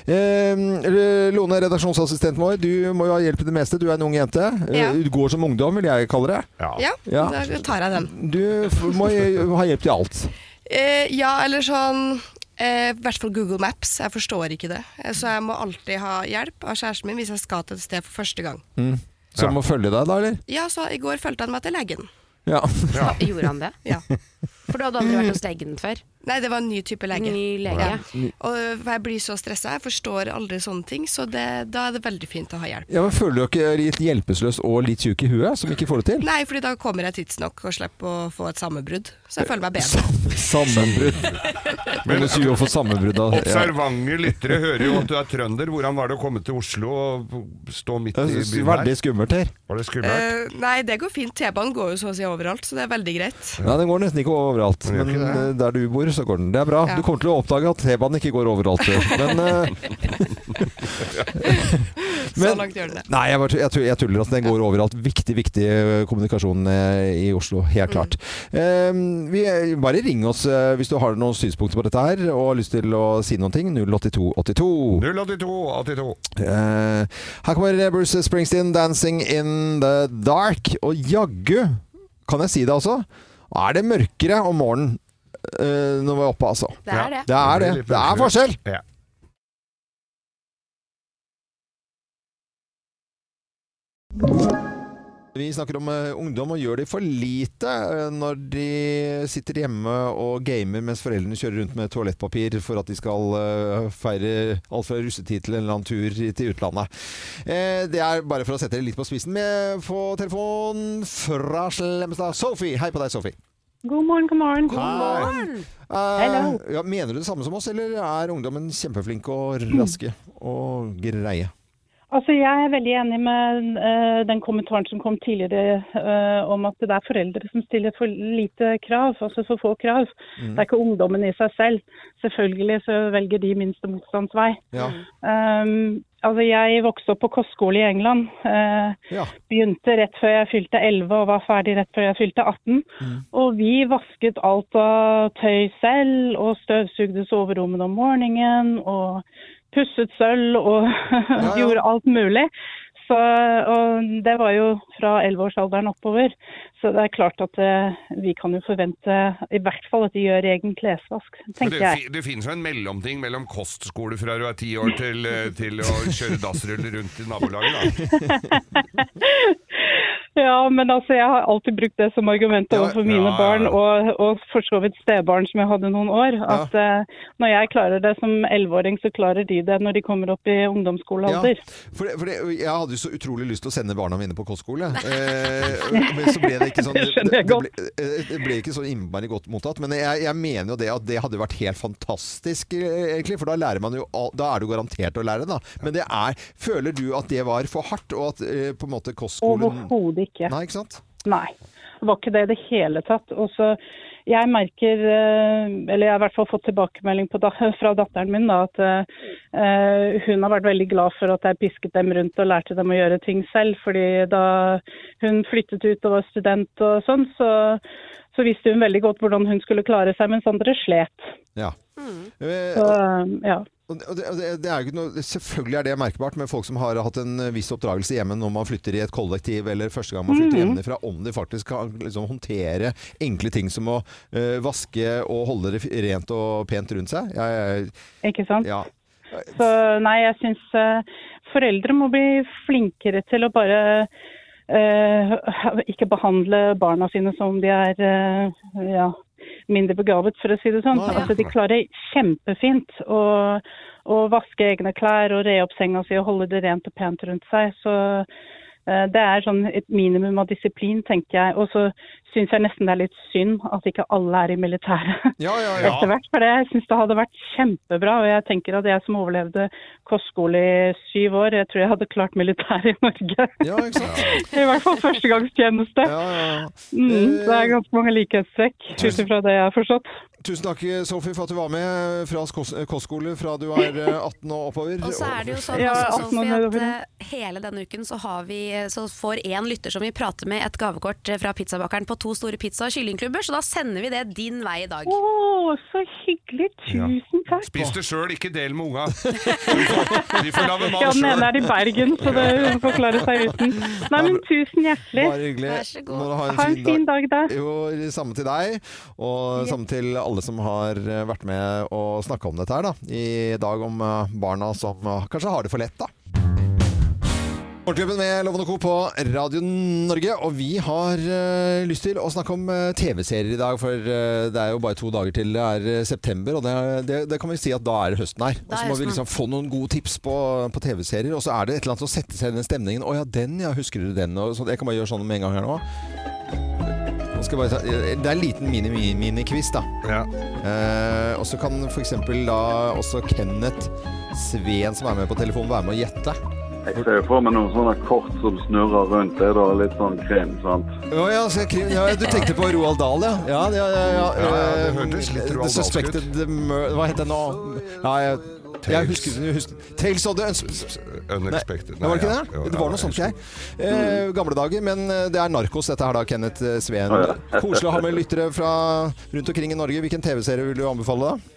Eh, Lone, redaksjonsassistenten vår, du må jo ha hjelp til det meste. Du er en ung jente. Eh,
Ja.
Du går som ungdom, vil jeg kalle det.
Ja.
Ja,
Ja.
da tar jeg den.
Du f- må jo ha hjelp til alt.
Eh, ja, eller sånn eh, I hvert fall Google Maps. Jeg forstår ikke det. Eh, Så jeg må alltid ha hjelp av kjæresten min hvis jeg skal til et sted for første gang.
Som Mm. må følge deg, da, eller?
Ja, så i går fulgte han meg til legen.
Ja.
Ja.
Gjorde han det?
Ja.
For du hadde aldri vært hos legen før?
Nei, det var en ny type lege.
Ny lege.
Og øh, jeg blir så stressa, jeg forstår aldri sånne ting, så det, da er det veldig fint å ha hjelp.
ja, men Føler du deg ikke litt hjelpeløs og litt tjukk i huet, som ikke får det til?
Nei, fordi da kommer jeg tidsnok og slipper å få et sammenbrudd. Så jeg føler meg bedre.
Sammenbrudd. Men du sier jo for sammenbrudd av ja.
Observante lyttere hører jo at du er trønder. Hvordan var det å komme til Oslo og stå midt i
Det er
byen
Veldig
her?
skummelt her.
Var det skummelt?
Eh, nei, det går fint. T-banen går jo så å si overalt, så det er veldig greit.
Nei, Den går nesten ikke overalt,
Den gjør
men
ikke det.
eh, der du bor, så går den. Det er bra.
Ja.
Du kommer til å oppdage at T-banen ikke går overalt. du. Men, eh,
Så
Men-
langt gjør den det.
nei, jeg, bare, tu- jeg, tu- jeg tuller. Altså, den går overalt. Viktig, viktig eh, kommunikasjon eh, i Oslo.
Mm.
Helt klart. Eh, vi, eh, bare ring oss eh, hvis du har noen synspunkter på dette her og har lyst til å si noen ting. 08282.
082 82.
Eh, her kommer Bruce Springsteen, 'Dancing in the Dark'. Og jaggu, kan jeg si det altså, er det mørkere om morgenen eh, når vi er oppe, altså.
Det er det.
Det er det. Det er forskjell!
Ja.
Vi snakker om eh, ungdom og gjør de for lite eh, når de sitter hjemme og gamer mens foreldrene kjører rundt med toalettpapir for at de skal eh, feire alt fra russetid til en eller annen tur i- til utlandet. Eh, det er bare for å sette det litt på spissen. Vi får telefon fra Slemmestad. Sophie! Hei på deg, Sophie.
God morgen, god morgen.
Eh,
Hello.
ja, mener du det samme som oss, eller er ungdommen kjempeflinke og raske og greie?
Altså, Jeg er veldig enig med eh, den kommentaren som kom tidligere eh, om at det er foreldre som stiller for lite krav, altså for få krav. Det er ikke ungdommen i seg selv. Selvfølgelig så velger de minste motstands vei.
Ja.
Mm.
Um, altså, jeg vokste opp på kostskole i England. eh,
ja.
begynte rett før jeg fylte 11 og var ferdig rett før jeg fylte 18.
Mm.
Og vi vasket alt av tøy selv og støvsugde soverommene om morgenen og pusset sølv og
ja.
gjorde alt mulig. Så, og det var jo fra 11-årsalderen oppover. Så det er klart at eh, vi kan jo forvente i hvert fall at de gjør egen klesvask,
Men det,
tenker jeg.
fi- det finnes jo en mellomting mellom kostskole fra du er ti år til, eh, til å kjøre dassruller rundt i nabolaget. Da.
Ja, men altså, jeg har alltid brukt det som argument
Ja,
overfor mine
ja, ja.
barn, og, og for så vidt stebarn som jeg hadde noen år. At eh, når jeg klarer det som 11-åring, så klarer de det når de kommer opp i ungdomsskolealder.
for det, for det, jeg hadde jo så utrolig lyst til å sende barna mine på kostskole, eh, men så ble det ikke sånn
Det skjønner jeg
ble, eh, det ble ikke så innmari godt mottatt. Men jeg, jeg mener jo det at det hadde vært helt fantastisk, eh, egentlig, for da lærer man jo al- Da er du garantert å lære, da. Men det er Føler du at det var for hardt, og at eh, på en måte kostskolen
Overhodet ikke.
Nei, ikke sant?
Nei, det var ikke det i det hele tatt. Og så jeg merker, eh, eller jeg har i hvert fall fått tilbakemelding på da, fra datteren min, da, at eh, eh, hun har vært veldig glad for at jeg pisket dem rundt og lærte dem å gjøre ting selv. fordi da hun flyttet ut og var student og sånn, så, så visste hun veldig godt hvordan hun skulle klare seg, mens andre slet.
Ja. Eh,
Så, eh, ja.
Og det, og det- og det, det er jo ikke noe, selvfølgelig er det merkbart med folk som har hatt en eh, viss oppdragelse hjemme når man flytter i et kollektiv eller første gang man
Mhm.
flytter hjemmefra, om de faktisk kan liksom, håndtere enkle ting som å eh, vaske og holde det f- rent og pent rundt seg. Jeg,
Ikke sant?
jeg, ja.
Så nei, jeg syns eh, foreldre må bli flinkere til å bare eh, ikke behandle barna sine som om de er eh, ja, mindre begavet, for å si det sånn.
Nei, ja.
Altså, de klarer kjempefint å, å vaske egne klær og re opp senga si og holde det rent og pent rundt seg. Så eh, det er sånn et minimum av disiplin, tenker jeg. Og så syns jeg nesten det er litt synd at ikke alle er i militæret
Ja, ja, ja.
etter hvert. For det- jeg syns det hadde vært kjempebra. Og jeg tenker at jeg som overlevde kostskole i syv år, jeg tror jeg hadde klart militæret i Norge.
Ja, ikke sant?
I hvert fall førstegangstjeneste.
Ja, ja, ja.
Mm, det er
Eh,
ganske mange likhetstrekk, ut ifra det jeg har forstått.
tusen takk, Sofie, for at du var med eh, fra kos- kostskole fra du er eh, 18 og oppover.
Og så er det jo sånn
Ja,
også,
alt man
Sofie, at
nedover.
eh, hele denne uken så, har vi, så får én lytter som vi prater med, et gavekort eh, fra pizzabakeren på to store pizza- og kyllingklubber, så da sender vi det din vei i dag.
Å, så hyggelig. Tusen takk.
Spis det sjøl, ikke del med unga. De får- De får lage
Ja,
mat
den ene
sjøl.
er i Bergen, så det hun får klare
eh,
seg uten. Nei, men tusen
Bare
hjertelig.
hyggelig.
Vær så god.
Må du ha en
Ha en
fin dag.
fin dag, da.
Jo, samme til deg, og samme til alle som har eh, vært med og snakka om dette her, da. I dag om eh, barna som eh, kanskje har det for lett, da. Morgenklubben med Loven og Co. på Radio Norge, og vi har eh, lyst til å snakke om eh, TV-serier i dag, for eh, det er jo bare to dager til det er eh, september, og det, er, det, det kan vi si at da er det høsten her. Og
Da er
så må vi
høsten.
liksom få noen gode tips på, på TV-serier, og så er det et eller annet som setter seg i den stemningen. Å ja, den, ja, husker du den? Og så, jeg kan bare gjøre sånn med en gang her nå. Nå skal jeg bare ta, eh, det er en liten mini-mini-quiz, da.
Ja.
Eh, og så kan f.eks. da også Kenneth Sveen, som er med på telefonen, være med å gjette.
Jeg ser for meg noen sånne kort som snurrer rundt. Det er da litt sånn krim, sant?
Å ja, så Krim, ja, du tenkte på Roald Dahl, ja? Ja, ja, ja, ja,
Ja, ja, det
eh,
hørtes litt Roald
The Suspected Mur- Hva het den nå? Ja, jeg, jeg husker ikke. husker- Tales of the Uns...
Unexpected.
Nei, var det
Nei,
ikke
ja.
det? Det var noe sånt, jeg. Eh, gamle dager, men eh, det er narkos dette her da, Kenneth eh, Sveen. Koselig å ha med lyttere fra rundt omkring i Norge. Hvilken TV-serie vil du anbefale, da?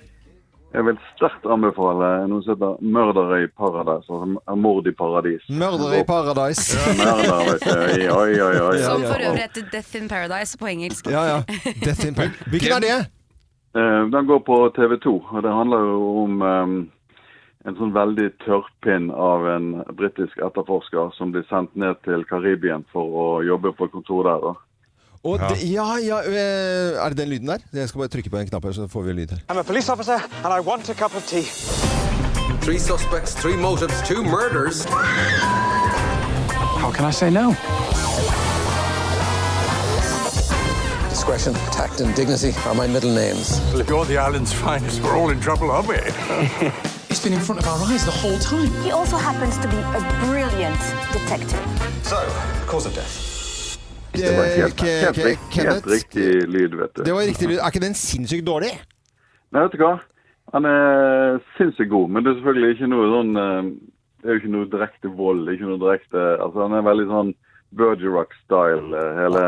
Jeg vil sterkt anbefale noe som heter 'Mørdere i paradis'. Altså 'Mord i paradis'.
'Mørdere i paradise'. Sånn.
Mørder, vet du. I- Oi, oi, oi.
Som for øvrig heter Death in Paradise på engelsk.
Ja, ja. Death in Paradise. Hvilken er det?
Eh, Den går på TV 2, og det handler jo om eh, en sånn veldig tørrpinn av en britisk etterforsker som blir sendt ned til Karibien for å jobbe på et kontor der. da.
Og ja. Det, ja, ja, øh, er det den lyden der? Jeg skal bare trykke på en knapp her, så får vi lyd her.
I'm a police officer and I want a cup of tea.
Three suspects, three motives, two murders.
How can I say no?
Discretion, tact, and dignity are my middle names.
Well, if you're the island's finest, we're all in trouble, aren't we?
It's been in front of our eyes the whole time.
He also happens to be a brilliant detective.
So, cause of death.
Det var helt,
Eh, Ke-
helt,
ke-
rikt- helt
Kenneth?
riktig lyd, vet du.
Det var riktig lyd. Er ikke den sinnssykt dårlig?
Nei, vet du hva? Han er sinnssykt god, men det er selvfølgelig ikke noe sånn eh, Det er jo ikke noe direkte vold. ikke noe direkte, altså Han er veldig sånn Bergerac-style, eh, hele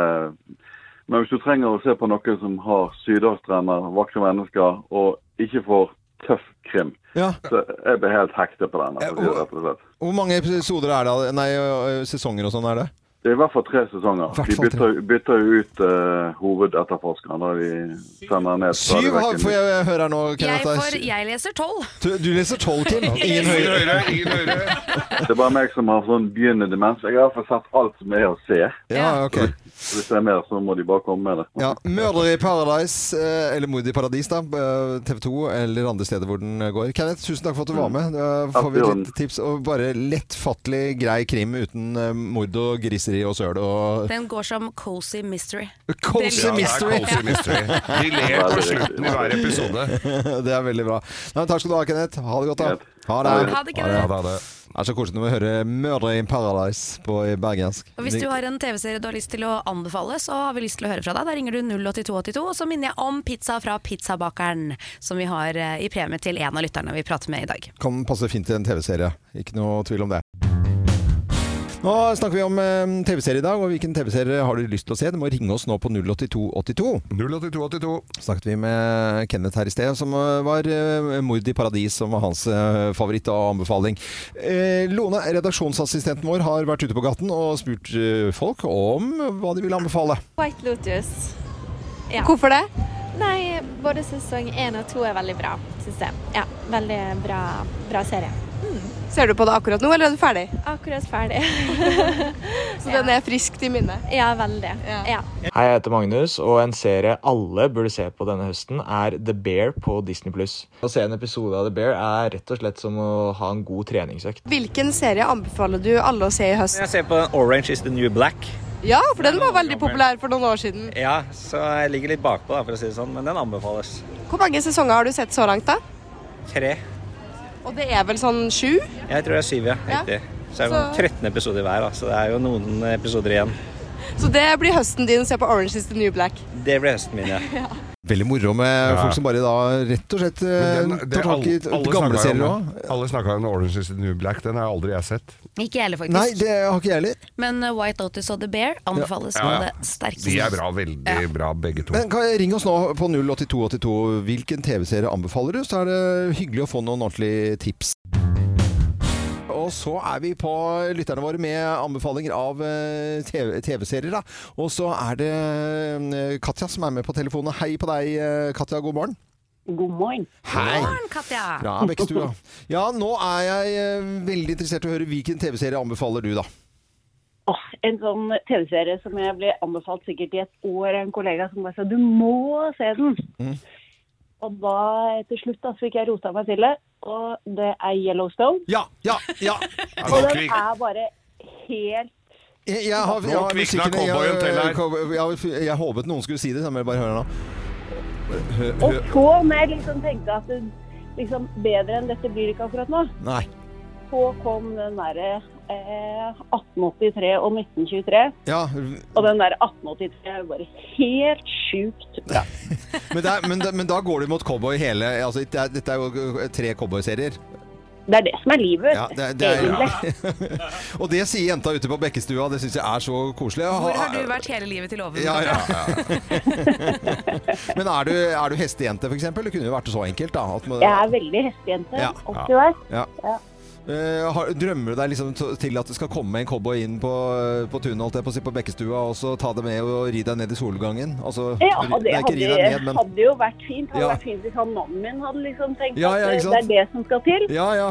Men hvis du trenger å se på noe som har sydhavstrender, vakre mennesker og ikke får tøff krim,
Ja.
så jeg ble helt hekta på den. Altså,
Eh, og-
rett og slett.
Hvor mange episoder er det? av- Nei, øh, sesonger og sånn er det?
Det er i hvert fall tre sesonger.
Hvert
De
fall tre.
bytter, bytter jo ut eh, hovedetterforskeren. Da de sender ned stadig
Syv
vekk
har-
en-
får jeg høre her nå,
Jeg,
Kenneth.
får, jeg leser tolv.
Du, du leser tolv, Kim. Ingen
Ingen
høyere.
høyre, ingen høyre.
Det er bare meg som har sånn begynnende demens. Jeg har i hvert fall sett alt som er å se.
Ja, ok.
Hvis det er mer, så må de bare komme med det.
Ja, 'Mørder i Paradise', eh, eller 'Mord i Paradis', da. TV 2 eller andre steder hvor den går. Kenneth, tusen takk for at du var med.
Mm.
Da får vi
Alltid
et
on.
lite tips. Og bare lettfattelig, grei krim uten eh, mord og griseri og søl og
Den går som cozy mystery.
Cozy
Ja, det er
mystery!
Det er cozy mystery. De ler på slutten i hver episode.
det er veldig bra. Nei, men takk skal du ha, Kenneth. Ha det godt, da.
Greit.
Ha det.
Ha det,
Ja,
Kenneth.
da er det.
Det er så koselig når vi hører 'Murder in Paradise' på i bergensk.
Og Hvis du har en TV-serie du har lyst til å anbefale, så har vi lyst til å høre fra deg. Da ringer du 08282, og så minner jeg om pizza fra Pizzabakeren, som vi har eh, i premie til en av lytterne vi prater med i dag.
Kan passe fint til en TV-serie. Ikke noe tvil om det. Nå snakker vi om eh, TV-serie i dag, og hvilken TV-serie har du lyst til å se? Du må ringe oss nå på 08282.
08282.
Snakket vi med Kenneth her i sted, som eh, var eh, 'Mord i paradis', som var hans eh, favoritt og anbefaling. Eh, Lone, redaksjonsassistenten vår, har vært ute på gaten og spurt eh, folk om hva de ville anbefale.
White Lotus. Ja.
Hvorfor det?
Nei, både sesong én og to er veldig bra, syns jeg. Ja, veldig bra, bra serie.
Ser du på det akkurat nå, eller er du ferdig?
Akkurat ferdig.
Så den er friskt i minnet?
Ja, veldig. Ja.
Hei, jeg heter Magnus, og en serie alle burde se på denne høsten, er The Bear på Disney+. Å se en episode av The Bear er rett og slett som å ha en god treningsøkt.
Hvilken serie anbefaler du alle å se i høst?
Jeg ser på den Orange is the New Black.
Ja, for den var veldig populær for noen år siden.
Ja, så jeg ligger litt bakpå, da, for å si det sånn, men den anbefales.
Hvor mange sesonger har du sett så langt, da?
Tre.
Og det er vel sånn sju?
Jeg tror det er syv, ja. Riktig. Så er det
Så-
noen 13 episoder hver, da, så det er jo noen episoder igjen.
Så det blir høsten din å se på Orange is the New Black.
Det ble høsten min, ja.
Veldig moro med
Ja.
folk som bare da rett og slett eh,
Den, det,
tar tak i
alle alle
gamle
snakka jo
serier
om,
òg.
alle snakka jo om Orange is the New Black. Den har aldri jeg sett.
Ikke jeg heller, faktisk.
Nei, det har ikke jeg heller.
Men eh, White Lotus og The Bear anbefales
Ja, ja.
med det sterkeste.
De er bra, veldig bra begge to.
Men kan, Ring oss nå på 08282. Hvilken TV-serie anbefaler du? Så er det hyggelig å få noen ordentlige tips. Og så er vi på lytterne våre med anbefalinger av eh, TV TV-serier. da. Og så er det eh, Katja som er med på telefonen. Hei på deg, eh, Katja. God morgen.
God morgen.
Hei.
Morgen, Katja.
Fra Bekkestua. Ja, nå er jeg eh, veldig interessert i å høre hvilken TV-serie anbefaler du, da.
Åh, en sånn TV-serie som jeg ble anbefalt sikkert i et år av en kollega som bare sa du må se den.
Mm.
Og da til slutt da, så fikk jeg rota meg til det, og det er Yellowstone.
Ja, ja, ja.
Og den er bare helt
Jeg, jeg har, jeg
Nå
har
kvikna
musikken- jeg-
cowboyen til her.
cowboy- jeg, jeg, jeg håpet noen skulle si det, så jeg må bare høre nå. Hø,
Og
hø,
så når jeg liksom tenkte at det, liksom, bedre enn dette blir det ikke akkurat nå,
nei.
så kom den derre eh, 1883 og 1923.
Ja,
Og den der 1883 er jo bare helt sjukt bra.
men, det er, men, det- men da går du mot cowboy hele altså, det er, Dette er jo tre cowboyserier.
Det er det som er livet,
Ja, det, det er, Og det sier jenta ute på Bekkestua. Det syns jeg er så koselig.
Hvor har du vært hele livet til oven?
Ja, ja.
Katja?
Men er du, er du hestejente, f.eks.? Det kunne jo vært så enkelt, da. At man,
Jeg er veldig hestejente.
Ja.
Alltid vært.
Ja.
Ja.
Eh, har, drømmer du deg liksom t- til at det skal komme en cowboy inn på, eh, på tunet, holdt jeg på å si, på bekkestua, og så ta det med og ri deg ned i solgangen? Altså,
Ja,
ri-
og det
nei,
hadde,
ikke ri deg ned, men
hadde jo vært fint. Hadde
Ja.
vært fint hvis han mannen min hadde liksom tenkt
Ja, ja, ikke
at eh, det
sant?
er det som skal til.
Ja, ja.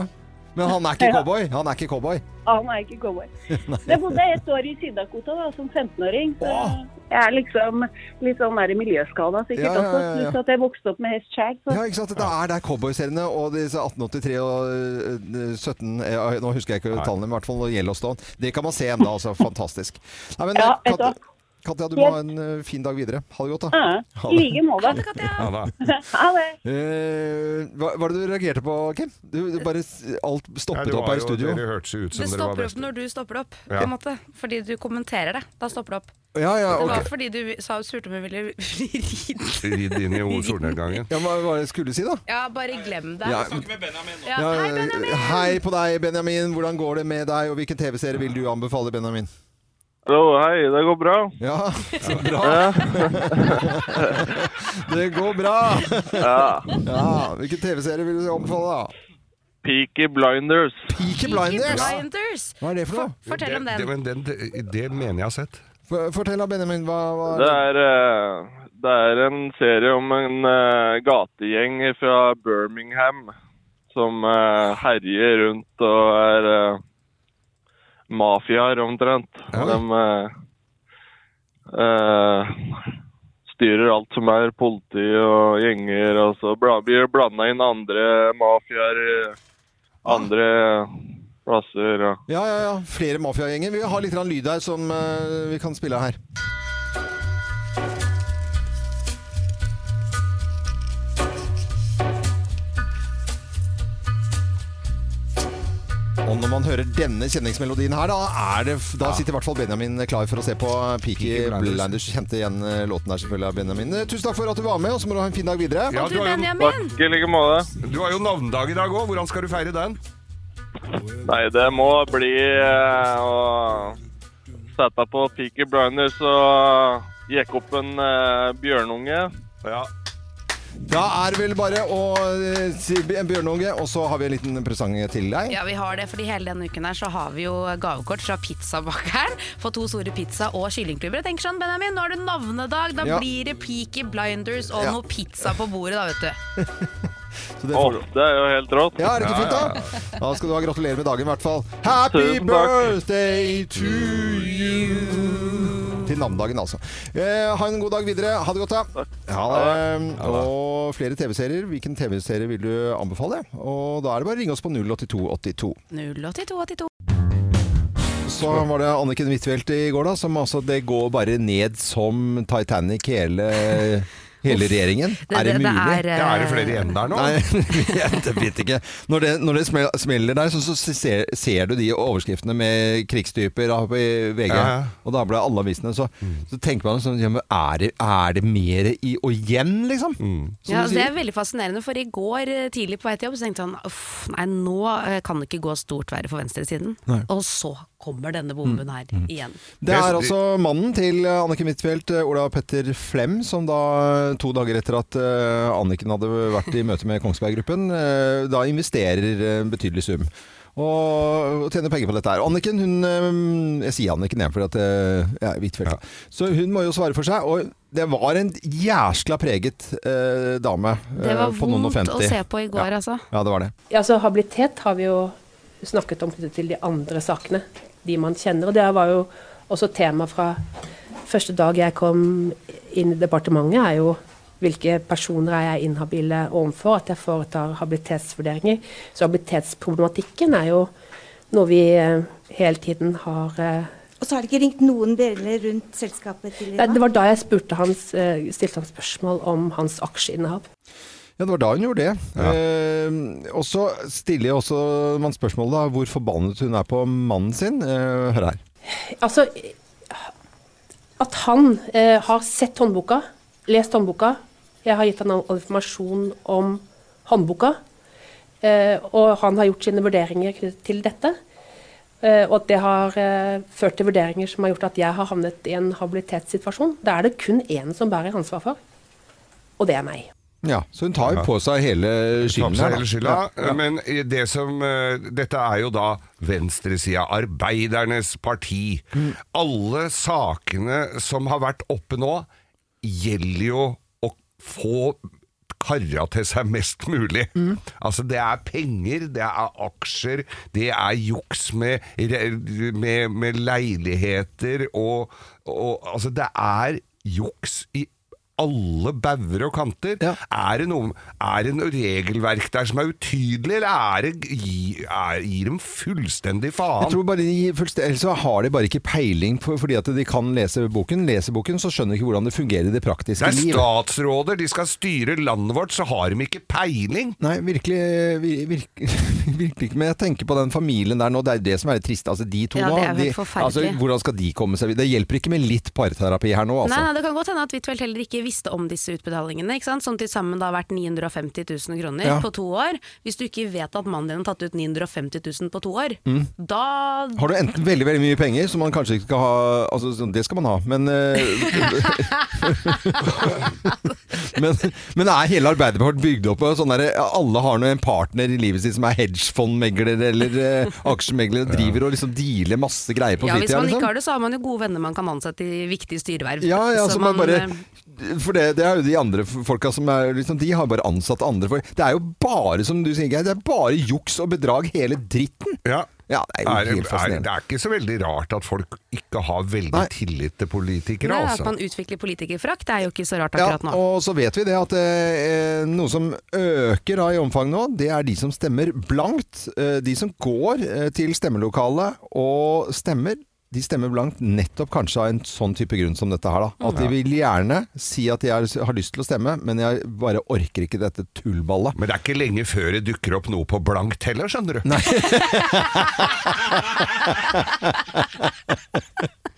Men han er ikke
Ja.
cowboy. Han er ikke cowboy.
Han er ikke cowboy.
Nei.
Jeg bodde et år i Syd-Dakota da, som 15-åring. så Jeg er liksom litt sånn der miljøskada sikkert
Ja, ja, ja,
også,
ja.
pluss at jeg vokste opp med hest sjæl. så-
Ja, ikke sant? Det er der cowboyseriene og disse 1883 og eh, 17 eh, Nå husker jeg ikke tallene, men i hvert fall Yellowstone. Det kan man se ennå, altså. Fantastisk. Nei, men,
Ja,
eh,
vet du hva?
Kat- Katja, du må ha en eh, fin dag videre. Ha det godt, da.
Ja,
Ha
I
det.
like måte.
Ha det.
Ha det.
Eh, hva hva er det du reagerte på, Kim? Du, du bare s- alt
Nei,
stoppet
det
opp
var
her i
jo-
studio.
dere hørtes jo ut
Det stopper opp når du stopper opp, på
Ja.
en måte. Fordi du kommenterer det. Da stopper det opp.
Ja, ja,
Det
ok.
var fordi du sa, spurte om jeg ville ride.
Ridd inn i solnedgangen.
Ja, hva var det jeg skulle si, da?
Ja, bare glem det.
Ja. Snakke med Ja, hei på deg, Benjamin. Hvordan går det med deg, og hvilken TV-serie vil du anbefale, Benjamin?
Hallo, hei, det går bra.
Ja, så bra.
Ja.
Det går bra.
Ja.
Ja, hvilken TV-serie vil du anbefale, da?
Peaky Blinders.
Peaky
Blinders.
Ja.
Blinders.
Hva er det for noe?
Fortell om den.
men den, det mener jeg har sett.
For- Fortell da, Benjamin. Hva, hva
Det er, eh, det er en serie om en eh, gategjeng fra Birmingham som eh, herjer rundt og er eh, mafiaer omtrent. De eh, eh, styrer alt som er politi og gjenger, og så bla- blir det blanda inn andre mafiaer i andre plasser. Ja.
Ja, ja, ja. Flere mafiagjenger. Vi har litt grann lyd her som eh, vi kan spille av her. Og når man hører denne kjenningsmelodien her, da, er det, f- da sitter i hvert fall Benjamin klar for å se på Peaky
Blinders.
Blinders. Kjente igjen eh, låten der selvfølgelig av Benjamin. Eh, Tusen takk for at du var med, og så må du ha en fin dag videre.
Ja, du har jo-
Takk i like måte.
Du har jo navnedag i dag òg. Hvordan skal du feire den?
Nei, det må bli eh, å sette på Peaky Blinders og jekke opp en eh, bjørnunge.
Ja.
Da er det vel bare å eh, si en bjørnunge, og så har vi en liten presang til deg.
Ja, vi har det, fordi hele denne uken her så har vi jo gavekort fra pizzabakeren. For to store pizza- og kyllingklubber. Jeg tenker sånn, Benjamin, nå er det navnedag. Da
Ja.
blir det Peaky Blinders og
Ja.
noe pizza på bordet, da, vet du.
Så det
Åh, det er jo helt rått.
Ja, er det ikke fint, da? Da skal du ha gratulerer med dagen, i hvert fall. Happy
Tusen takk.
birthday to you! Til navnedagen, altså. Eh, ha en god dag videre. Ha det godt, da. Ja, eh, og flere TV-serier. Hvilken TV-serie vil du anbefale? Og da er det bare å ringe oss på 08282.
08282.
Så var det Anniken Huitfeldt i går, da, som altså Det går bare ned som Titanic, hele Hele
Uff.
regjeringen?
Det-
er det,
det- det
mulig?
er, eh, Ja, er det flere igjen
der nå?
Nei, jeg vet ikke. Når det, når det smel- smeller der, så, så ser, ser du de overskriftene med krigstyper da, i VG.
Ja, ja.
Og da ble alle avisene Så, så tenker man sånn ja, men er, det, er det mer i og igjen, liksom? Som
Ja, altså,
du
det
sier.
er veldig fascinerende, for i går eh, tidlig på vei til jobb så tenkte han uff, nei, nå eh, kan det ikke gå stort verre for venstresiden.
Nei. Mm.
Og så kommer denne bomben her igjen.
Det er altså mannen til Anniken Huitfeldt, Ola Petter Flem, som da to dager etter at eh, Anniken hadde vært i møte med Kongsberg Gruppen, eh, da investerer en betydelig sum. Og og tjener penger på dette her. Anniken, hun eh, Jeg sier Anniken, jeg, for at eh, jeg er Huitfeldt. Så hun må jo svare for seg. Og det var en jæskla preget eh, dame eh,
Det var
på noen og
vondt å
50.
se på i går,
ja.
altså.
Ja, det var det.
Ja, altså Habilitet har vi jo snakket om knyttet til de andre sakene, de man kjenner. Og det var jo også tema fra første dag jeg kom inn i departementet, er jo hvilke personer er jeg inhabile overfor, at jeg foretar habilitetsvurderinger. Så habilitetsproblematikken er jo noe vi eh, hele tiden har eh,
Og så har det ikke ringt noen bjeller rundt selskapet til i
Nei,
dag?
Det var da jeg spurte hans, eh, stilte han spørsmål om hans aksjeinnehav.
Ja, det var da hun gjorde det. Eh, og så stiller jeg også man spørsmålet da, hvor forbannet hun er på mannen sin. Eh, hør her.
Altså, at han eh, har sett håndboka, lest håndboka. Jeg har gitt han all informasjon om håndboka. Eh, og han har gjort sine vurderinger knyttet til dette. Eh, og at det har eh, ført til vurderinger som har gjort at jeg har havnet i en habilitetssituasjon. Da er det kun én som bærer ansvar for, og det er meg.
Ja, så hun tar jo på seg hele
Tar
skylden her,
på seg
da.
hele skylda.
Ja, ja.
Men i det som, eh, dette er jo da venstresida, arbeidernes parti.
Mm.
Alle sakene som har vært oppe nå, gjelder jo å få karra til seg mest mulig.
Mm.
Altså Det er penger, det er aksjer, det er juks med, re- med, med leiligheter og, og Altså, det er juks i alle bauger og kanter. Er, det noe, er det noe regelverk der som er utydelig, eller er det, gi- er, gir dem fullstendig
Jeg
faen?
tror bare de gir fullst- Ellers så har de bare ikke peiling, på, fordi at de kan lese boken. Leser boken, så skjønner de ikke hvordan det fungerer i det
Det
praktiske
er
liv.
statsråder, de skal styre landet vårt, så har de ikke peiling.
Nei, virkelig, vir- virk- virkelig ikke. Men jeg tenker på den familien der nå, det er det som er det triste. Altså, de to
Ja,
nå,
det er helt
de, altså,
forferdelig.
hvordan skal de komme seg videre? Det hjelper ikke med litt parterapi her nå, altså.
Nei, nei, Det kan godt hende at Huitfeldt heller ikke visste om disse utbetalingene, ikke sant? som til sammen da har vært 950 000 kroner
Ja.
på to år. Hvis du ikke vet at mannen din har tatt ut 950 000 på to år,
Mm.
da
Har du enten veldig veldig mye penger, som man kanskje ikke skal ha Altså, sånn, det skal man ha, men eh, men, men er hele Arbeiderpartiet bygd opp av sånn derre Alle har nå en partner i livet sitt som er hedgefondmegler eller uh, aksjemegler, og driver og liksom dealer masse greier på
ja, Hvis
fritida,
man ikke
liksom.
har det, så har man jo gode venner man kan ansette i viktige styreverv.
Ja, ja,
Så
så man
man,
bare
eh,
For det, det er jo de andre folka som er liksom, De har bare ansatt andre folk. Det er jo bare, som du sier, Geir, det er bare juks og bedrag, hele dritten.
Ja.
det er jo
Er-
helt
er,
fascinerende.
det er ikke så veldig rart at folk ikke har veldig tillit til politikere,
nei, At
altså.
man utvikler politikerfrakt, det er jo ikke så rart
Ja,
akkurat nå.
og så vet vi det at eh, noe som øker da i omfang nå, det er de som stemmer blankt. Eh, de som går eh, til stemmelokalet og stemmer, de stemmer blankt nettopp kanskje av en sånn type grunn som dette her.
Mm,
da. At de vil gjerne si at de er, har lyst til å stemme, men jeg bare orker ikke dette tullballet.
Men det er ikke lenge før det dukker opp noe på blankt heller, skjønner du.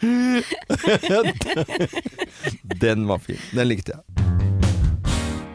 Den var fin. Den likte jeg.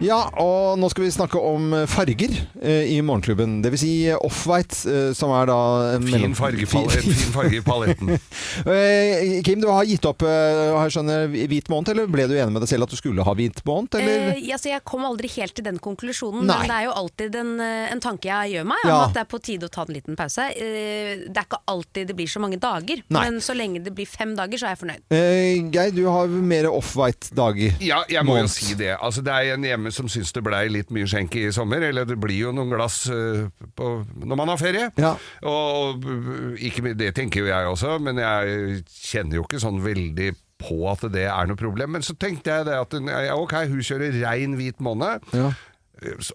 Ja, og nå skal vi snakke om farger eh, i Morgenklubben. Det vil si Off-White, eh, som er da en
Fin fargepal- fin farge i paletten.
Eh, Kim, du har gitt opp eh, har jeg skjønner, hvit måned, eller ble du enig med deg selv at du skulle ha hvit måned? Eller?
Eh, ja, så jeg kom aldri helt til den konklusjonen,
Nei.
men det er jo alltid en, eh, en tanke jeg gjør meg,
Ja.
om at det er på tide å ta en liten pause. Eh, det er ikke alltid det blir så mange dager,
Nei.
men så lenge det blir fem dager, så er jeg fornøyd.
Eh, Geir, du har mer Off-White-dag.
Ja, jeg må jo
Måned.
si det. Altså, det er en hjemme som syns det blei litt mye skjenke i sommer. Eller det blir jo noen glass øh, på, når man har ferie. Og øh, ikke, mi- det tenker jo jeg også, men jeg kjenner jo ikke sånn veldig på at det er noe problem. Men så tenkte jeg det at hun- ja, ok, hun kjører rein hvit måned. Eh,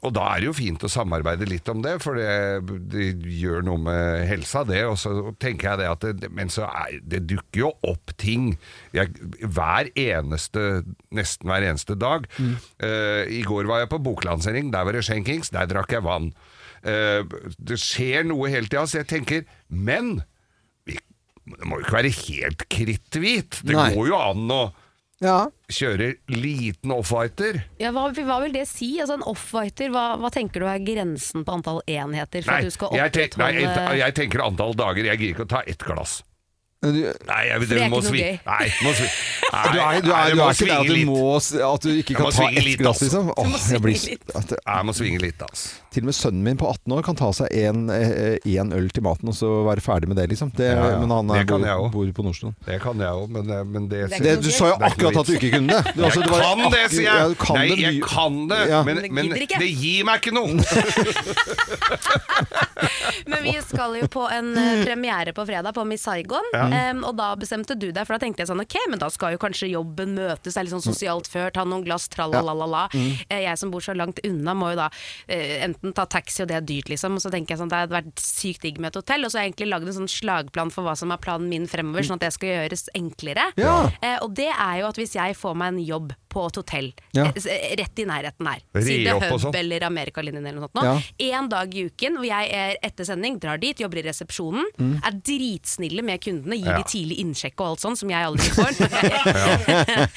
Og da er det jo fint å samarbeide litt om det, for det, det gjør noe med helsa, det. Og så tenker jeg det at det, Men så er, det dukker jo opp ting jeg, hver eneste Nesten hver eneste dag. Eh, I går var jeg på boklansering, der var det skjenkings, der drakk jeg vann. Eh, det skjer noe hele tida, så jeg tenker Men vi, det må jo ikke være helt kritthvit. Det
Nei.
går jo an å
Ja.
kjøre liten offwhiter.
Ja, hva, hva vil det si? Altså En offwhiter, hva, hva tenker du er grensen på antall enheter for
Nei,
at du skal
jeg, tenk, nei,
opprettholde
jeg- jeg tenker antall dager. Jeg gidder ikke å ta ett glass. Nei, jeg,
For det er
må
ikke noe
svi-
gøy.
Nei, må svi-
Du er, du er,
Nei,
du er
jeg må
ikke der
svinge
at du,
litt.
må, s- at du ikke
Jeg
kan
må
ta
svinge
ett
litt,
glass,
altså.
liksom.
Du må
Åh, jeg blir,
svinge litt.
at det-
Jeg må svinge litt, altså.
Til og med sønnen min på 18 år kan ta seg en, eh, en øl til maten og så være ferdig med det, liksom. Det,
Ja, ja.
Men han er,
Det kan
bor,
jeg også.
bor på Nordstrand.
Det kan jeg òg, men, det- men det,
Det er ikke noe Du sa jo
Det er ikke
akkurat
noe
at du
vits.
ikke kunne det. Du- altså,
jeg
det var
kan det,
akkurat-
sier
ja,
jeg!
du kan
Nei,
det
jeg
mye.
kan det,
Ja.
men,
Men
men
gidder ikke.
det gir meg ikke noe!
Men vi skal jo på en eh, premiere på fredag på Miss Saigon,
Ja.
em, og da bestemte du deg, for da tenkte jeg sånn ok, men da skal jo kanskje jobben møtes, er litt sånn sosialt før, ta noen glass, tralalala.
Mm. Ja. Mm.
Eh, Jeg som bor så langt unna må jo da eh, enten ta taxi, og det er dyrt liksom, og så tenker jeg sånn det hadde vært sykt digg med et hotell, og så har jeg egentlig lagd en sånn slagplan for hva som er planen min fremover, sånn at det skal gjøres enklere.
Ja.
Eh, Og det er jo at hvis jeg får meg en jobb på et hotell,
Ja.
eh, s- eh, rett i nærheten her,
Re
si det
opp og
Hub
sånn.
eller Amerikalinjen eller noe sånt nå,
Ja.
en dag i uken hvor jeg er etter sending, drar dit, jobber i resepsjonen,
Mm.
er dritsnille med kundene, gir
Ja.
de tidlig innsjekk og alt sånt, som jeg aldri får når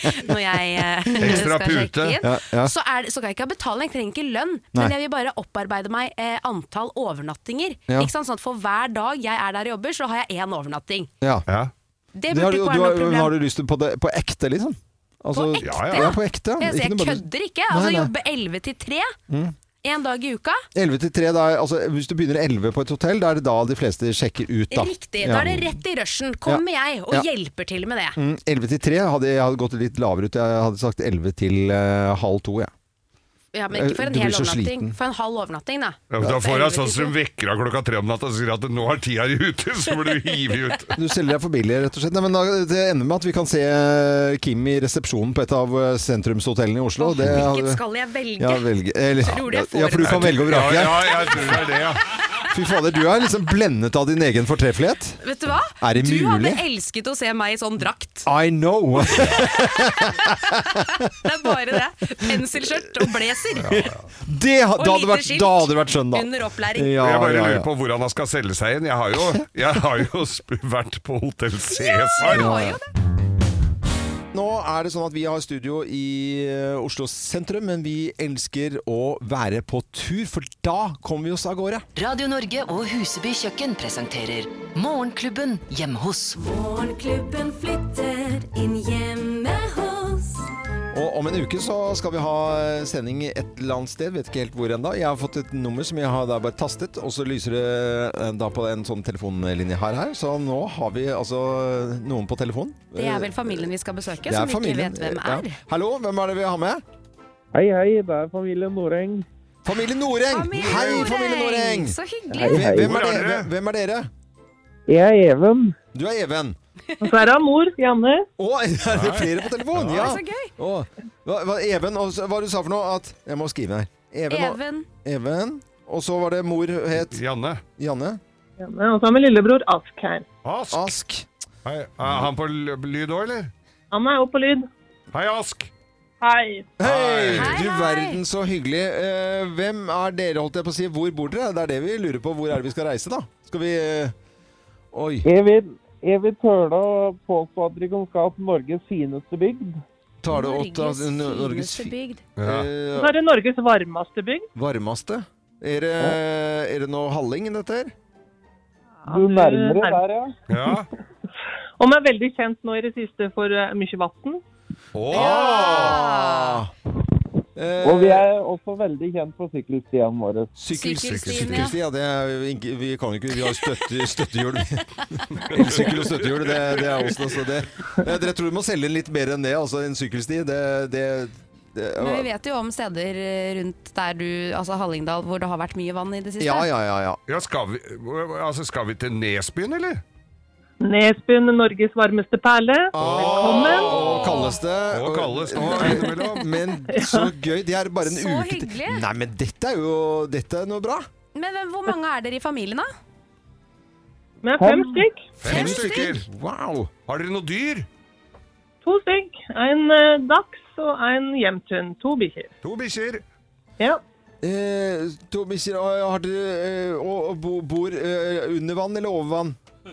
jeg, når jeg eh,
Ekstra
skal sjekke
pute.
inn.
Ja, ja.
Så, er, det- så kan jeg ikke ha betaling, jeg trenger ikke lønn,
Nei.
men jeg vil bare opparbeide meg eh, antall overnattinger.
Ja.
Ikke sant? Sånn at for hver dag jeg er der og jobber, så har jeg én overnatting.
Ja.
Det
har
burde
du,
ikke
du
være noe
har,
problem.
har du lyst til på, det, på ekte, liksom? Altså,
på ekte.
Ja, ja, ja, på ekte.
Jeg,
Ikke
jeg
noe bare-
kødder ikke.
Nei,
Altså,
nei.
Jobbe 11 til 3
Mm.
en dag i uka.
11 til 3, da, er- altså, hvis du begynner 11 på et hotell, da er det da de fleste sjekker ut. Da.
Riktig. Da er det rett i rushen. Kommer
Ja.
jeg og
Ja.
hjelper til med det.
Mm, 11 til 3 hadde jeg hadde gått litt lavere ut. Jeg hadde sagt 11 til eh, halv to. Ja.
Ja, men ikke for en
Eh, Du blir
hel
så
overnatting.
sliten.
For en halv overnatting, da.
Ja, men da får
Elleve
jeg sånn
til
som vekker av klokka tre om natta og sier at nå er tida ute, så blir du hivet ut.
Du selger deg for billig, rett og slett. Nei, men da, det ender med at vi kan se eh, Kim i resepsjonen på et av eh, sentrumshotellene i Oslo. Det-
Hvilket skal jeg velge?
Ja, velge. Eller,
Tror du jeg får
ja, for du
det?
kan velge og vrake.
Ja, ja, jeg tror det er det, ja.
Fy fader, du er liksom blendet av din egen fortreffelighet.
Vet du hva?
Er det
du hadde
mulig?
elsket å se meg i sånn drakt.
I know!
Det er bare det. Penselskjørt og blazer.
Det, ha-
Og
da, hadde
lite
vært,
skilt
da hadde det vært søndag.
under opplæring.
Ja,
jeg bare
ja,
lurer
ja.
på hvordan han skal selge seg inn. Jeg har jo, jeg har jo sp vært på Hotell Cæsar.
Ja, ja. Nå er det sånn at vi har studio i eh, Oslo sentrum, men vi elsker å være på tur, for da kommer vi oss av gårde.
Radio Norge og Huseby kjøkken presenterer Morgenklubben hjemme hos.
Morgenklubben flytter inn hjemme hos
Og om en uke så skal vi ha eh, sending et eller annet sted, vet ikke helt hvor ennå. Jeg har fått et nummer som jeg har da bare tastet, og så lyser det eh, da på en sånn telefonlinje her her. Så nå har vi altså noen på telefonen.
Det er vel familien vi skal besøke,
Det er
som vi ikke
familien,
vet hvem
ja.
er.
Hallo, hvem er det vi har med?
Hei, hei, det er familien Noreng.
Familien Noreng! Hei, familien Noreng!
Så
Hei,
Hvem-
hei.
Hvem er
Hvor er
dere?
dere?
Hvem er dere?
Jeg er Even.
Du er Even.
Og så er det mor, Janne.
Å, er det flere på telefonen?
Ja.
Ja.
Det er så
Å, hva, hva, Even, og så- hva du sa for noe? At, jeg må skrive her. og-
Even.
Even. Og så var det mor het
Janne.
Janne.
Janne, og så har vi lillebror Ask her.
Ask. Hei, er han på l- lyd òg, eller?
Han er jo på lyd.
Hei, Ask.
Hei.
Hei, du verden så hyggelig. Eh, hvem er dere, holdt jeg på å si? Hvor bor dere? Det er det vi lurer på. Hvor er det vi skal reise, da? Skal vi eh, Oi.
Evin, Evin Tøla påstår at dere skal til Norges fineste bygd.
Tar det åt av Norges, Norges fi-
Og
eh,
Så er det Norges varmeste bygd.
varmeste? Er det, er det noe halling, dette her?
Du nærmer deg der, ja.
Ja.
eh, Og vi er veldig kjent nå i det siste for eh, mye vann.
Ja!
Og vi er også veldig kjent for sykkelstiene våre.
Sykkel-
Sykkelstien,
sykkelstien, ja. Det er, jo ikke- vi kan jo ikke Vi har støtte, støttehjul. Elsykkel og støttehjul, det, det er oss. Altså det. Eh, Dere tror vi må selge inn litt mer enn det, altså en sykkelsti. Det, det, det
Men vi vet jo om steder eh, rundt der du, altså Hallingdal, hvor det har vært mye vann i det siste.
ja, ja.
skal, vi, altså, skal vi til Nesbyen, eller?
Nesbyen, Norges varmeste perle. Velkommen.
Og kalles det.
Og kalles det,
Og-
innimellom.
Men så gøy. Det er bare en
Så
uke til-
hyggelig.
Nei, men dette er jo Dette er noe bra.
Men hvem- hvor mange er dere i familien, da?
Vi er fem stykk.
Fem stykker.
Wow.
Har dere noe dyr?
To stykk. En eh, dags og en hjemtun. To bikkjer.
To bikkjer.
Ja.
Eh, to bikkjer. og Har dere eh, og, og bo- bor eh, under vann eller over vann?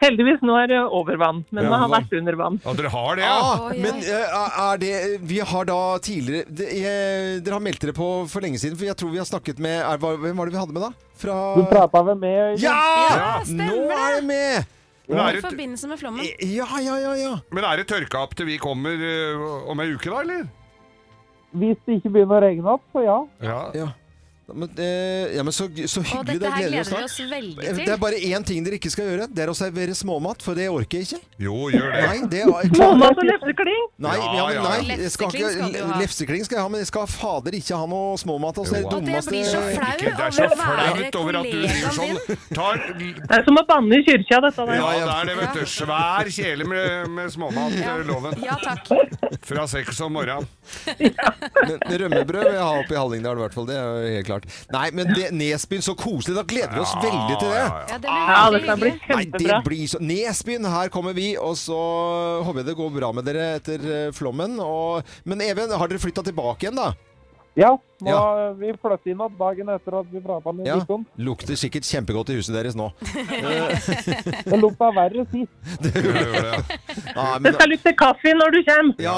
Heldigvis nå er det over vann, men vi
Ja,
har
vann.
vært under vann.
Ja, dere har det, ja.
Ah, men eh, er det Vi har da tidligere det, eh, Dere har meldt dere på for lenge siden, for jeg tror vi har snakket med er, hva- Hvem var det vi hadde med, da? Fra
Du prata vel med Øyvind?
Ja!
Ja, stemmer
Nå er jeg med!
Men er
I
det,
forbindelse med flommen.
Ja, ja, ja, ja.
men er det tørka opp til vi kommer eh, om ei uke, da, eller?
Hvis det ikke begynner å regne opp, så ja.
Ja.
Ja. Men, eh, ja, men så, så
Og
hyggelig, det
dette her
gleder vi oss snart.
gleder vi
Eh,
oss veldig til.
Det er bare én ting dere ikke skal gjøre. Det er å servere småmat, for det orker jeg ikke.
Jo, gjør det.
Nei, det er
Småmat og lefsekling.
Nei, ja,
Ja,
men,
ja, ja.
nei jeg skal
Lefsekling skal du
ikke,
ha.
lefsekling skal jeg ha, men jeg skal fader ikke ha noe småmat. Altså, det er
Og det
dummeste-
blir så flau
Ikke, det er
over
så
å være
flaut over at du driver sånn. Tar,
Det er som å banne i kyrkja, dette der.
ja, det er det, vet du. Svær kjele med, med småmat,
Ja.
eh, loven.
Ja takk.
Fra seks om morgenen.
Men Rømmebrød vil jeg ha oppe i Hallingdal, i hvert fall. Det er jo helt klart. Nei, men det, Nesbyen, så koselig. Da gleder vi oss
Ja,
veldig til det.
ja, ja.
Ja, det
Ja,
blir
dette
veldig
blir
hyggelig.
Nei, det
kjempebra.
blir så Nesbyen, her kommer vi, og så håper jeg det går bra med dere etter eh, flommen. Og... Men Even, har dere flytta tilbake igjen, da?
Ja,
Nå Vi flytter inn igjen dagen etter at vi prata med
Ja.
Nikon.
Lukter sikkert kjempegodt i huset deres nå.
Det lukta verre sist.
Nei,
Det
men,
skal lukte kaffe når du kommer.
ja,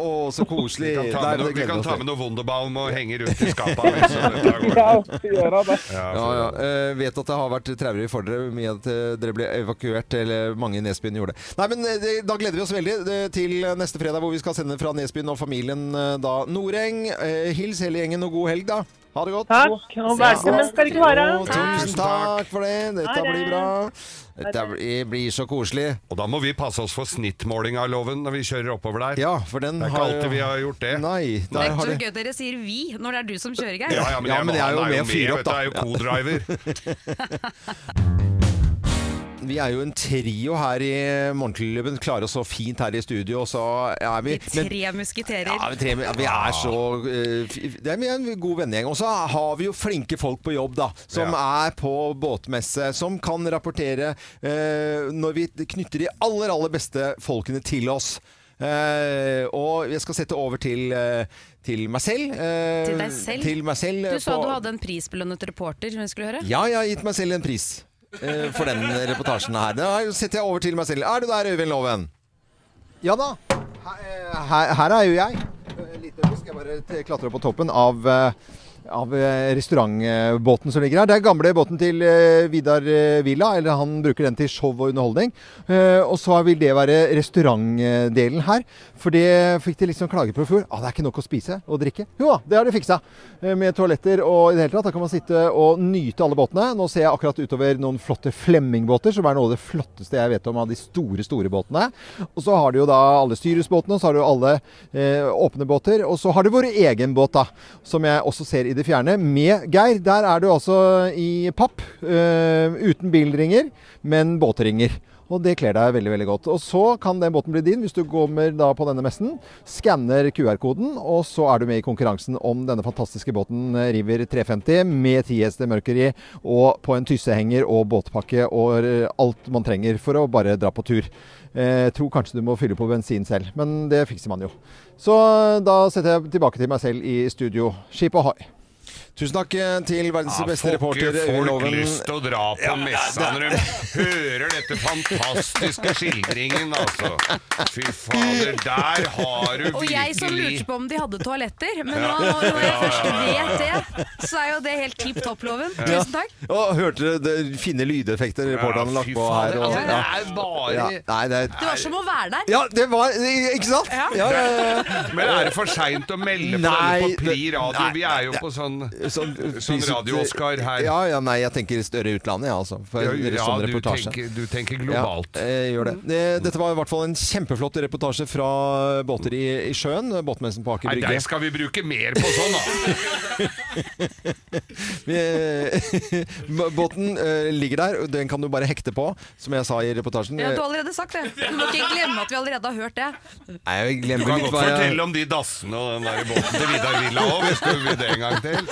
å, så koselig.
Vi kan ta
Nei,
med,
det
noe, vi
gleder
kan
oss
ta
til.
med noe Wunderbaum og henge rundt i liksom. skapene. Så dette går.
Ja, ja. Eh, vet at det har vært traurig for dere med at eh, dere ble evakuert, eller mange i Nesbyen gjorde det. Nei, men eh, det- Da gleder vi oss veldig eh, til neste fredag, hvor vi skal sende fra Nesbyen og familien eh, da. Noreng, eh, hils hele gjengen og god helg, da. Ha det godt.
Takk,
God-
og velkommen skal dere være.
Jo, Tusen takk for det. Dette
Ha det.
blir bra.
Ha
Dette blir, blir så koselig.
Og da må vi passe oss for snittmåling av loven når vi kjører oppover der.
Ja, for den
det er ikke
har jo-
alltid vi har gjort det.
Nei,
Det er ikke så gøy at dere sier 'vi' når det er du som kjører, Geir.
Ja, ja, men,
Ja,
jeg,
men jeg er jo
han
med å fyre opp,
vet du,
da.
Jeg er jo co-driver.
Vi er jo en trio her i Morgenklubben. Klarer oss så fint her i studio, og så er vi men-
Tre musketerer.
Ja, vi, tre, vi er så eh, fi- Det er en god vennegjeng. Og så har vi jo flinke folk på jobb, da. Som er på båtmesse. Som kan rapportere eh, når vi knytter de aller, aller beste folkene til oss. Eh, og jeg skal sette over til, eh, til meg selv. eh,
Til deg selv?
Til meg selv eh,
Du sa
på-
du hadde en prisbelønnet reporter som vi skulle høre.
Ja, jeg har gitt meg selv en pris eh, for den reportasjen her. Da setter jeg over til meg selv. Er du der, Øyvind Loven? Ja da. Her, her er jo jeg. Litt øyeblikk skal jeg bare t- klatre opp på toppen av, eh, av eh, restaurantbåten som ligger her. Det er gamle båten til eh, Vidar eh, Villa, eller han bruker den til show og underholdning. Eh, Og så vil det være restaurantdelen her. For det fikk de liksom klager på i fjor. Ah, det er ikke nok å spise og drikke. Jo da, det har de fiksa. Eh, Med toaletter og i det hele tatt. Da kan man sitte og nyte alle båtene. Nå ser jeg akkurat utover noen flotte Flemming-båter, som er noe av det flotteste jeg vet om av de store, store båtene. Og så har de jo da alle Styrus-båtene, så har du alle eh, åpne båter. Og så har du vår egen båt, da, som jeg også ser i det fjerne, med Geir. Der er du altså i papp, eh, uten bilringer, men båtringer. Og det kler deg veldig veldig godt. Og så kan den båten bli din hvis du kommer da på denne messen, skanner QR-koden, og så er du med i konkurransen om denne fantastiske båten eh, River 350 med 10 hester mørkeri og på en tyssehenger og båtpakke og eh, alt man trenger for å bare dra på tur. Eh, Jeg tror kanskje du må fylle på bensin selv, men det fikser man jo. Så eh, da setter jeg tilbake til meg selv i studio. Skip ohoi! Tusen takk eh, til verdens
Ja,
beste
får
reporter.
ikke folk lyst til å dra på messa når de hører dette fantastiske skildringen, altså. Fy fader, der har du
Og jeg som lurte
virkelig
på om de hadde toaletter, men nå,
Ja.
når jeg
Ja,
først
ja, ja,
vet det, så er jo det helt tipp topp-loven.
Ja.
Tusen takk.
Og hørte dere det fine lydeffekter reporterne
Eh, Ja,
lagt
fy
på
faen,
her? Og,
altså, det er bare-
Nei, det er...
Det var som å være der.
Ja, det var Ikke sant? Ja, ja, ja.
Men er det for seint å melde på
Nei,
denne på Pli radio?
nei,
Vi er jo
nei,
på sånn,
sånn,
sånn Radio-Oscar her.
Ja, ja, nei, jeg tenker større utlandet, jeg, ja, altså. For
Ja,
en
ja,
sånn
du
reportasje.
tenker- du tenker globalt.
Ja,
Mm.
jeg gjør det. Eh, Dette var i hvert fall en kjempeflott reportasje fra båter i, i sjøen. Båtmessen på Aker
Nei,
Brygge.
der skal vi bruke mer på sånn, da!
Vi- eh, Båten eh, ligger der, og den kan du bare hekte på, som jeg sa i reportasjen.
Ja, du har allerede sagt det. Du må ikke glemme at vi allerede har hørt det.
Nei, jeg
Du
glemmer
kan
litt
godt
hva jeg
fortelle om de dassene og den der båten til Vidar Villa òg, hvis du vil det en gang til.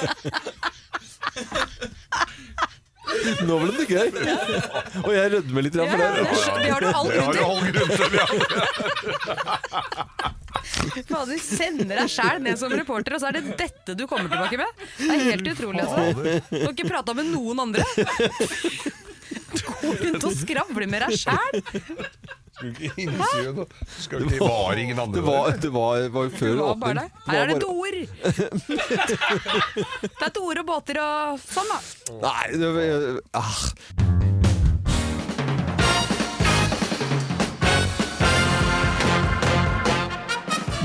Nå ble det gøy. Og jeg rødmer litt grann for
Ja,
det.
det- det har du all
Det har
grunn
du
til.
all
Fader, sender deg sjæl ned som reporter, og så er det dette du kommer tilbake med? Det er helt utrolig, altså. Du har ikke prata med noen andre. Gå rundt og skravle med deg sjæl.
Skal ikke innse det. da. Skal ikke, det var ingen andre
Det var, det var, det var før
Det var bare
åpning.
deg. Her er det
var
doer. Det er doer og båter og sånn, da.
bare- Nei, det var, ah.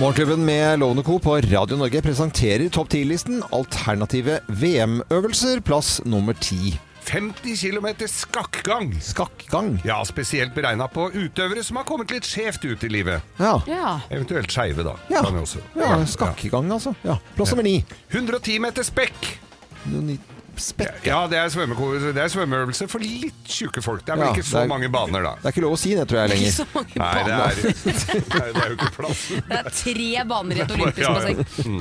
Morgenklubben med Lovende Co. på Radio Norge presenterer Topp 10-listen alternative VM-øvelser, plass nummer ti.
50 km skakkgang.
Skakkgang?
Ja, spesielt beregna på utøvere som har kommet litt skjevt ut i livet.
Ja.
Eventuelt skeive, da.
Ja.
Kan vi også.
ja, skakkegang, altså. Ja. Plass nummer ni.
110 meter spekk.
Spekk.
Ja, det er, svømmeko- det er svømmeøvelse for litt tjukke folk. Det er vel
Ja,
ikke så
det er-
mange baner da.
Det er ikke lov å si det, tror jeg, lenger.
Ikke så mange
Nei, det
baner.
er, det er jo ikke plass.
Det er tre baner i et
Ja,
olympisk
ja.
basseng.
Mm.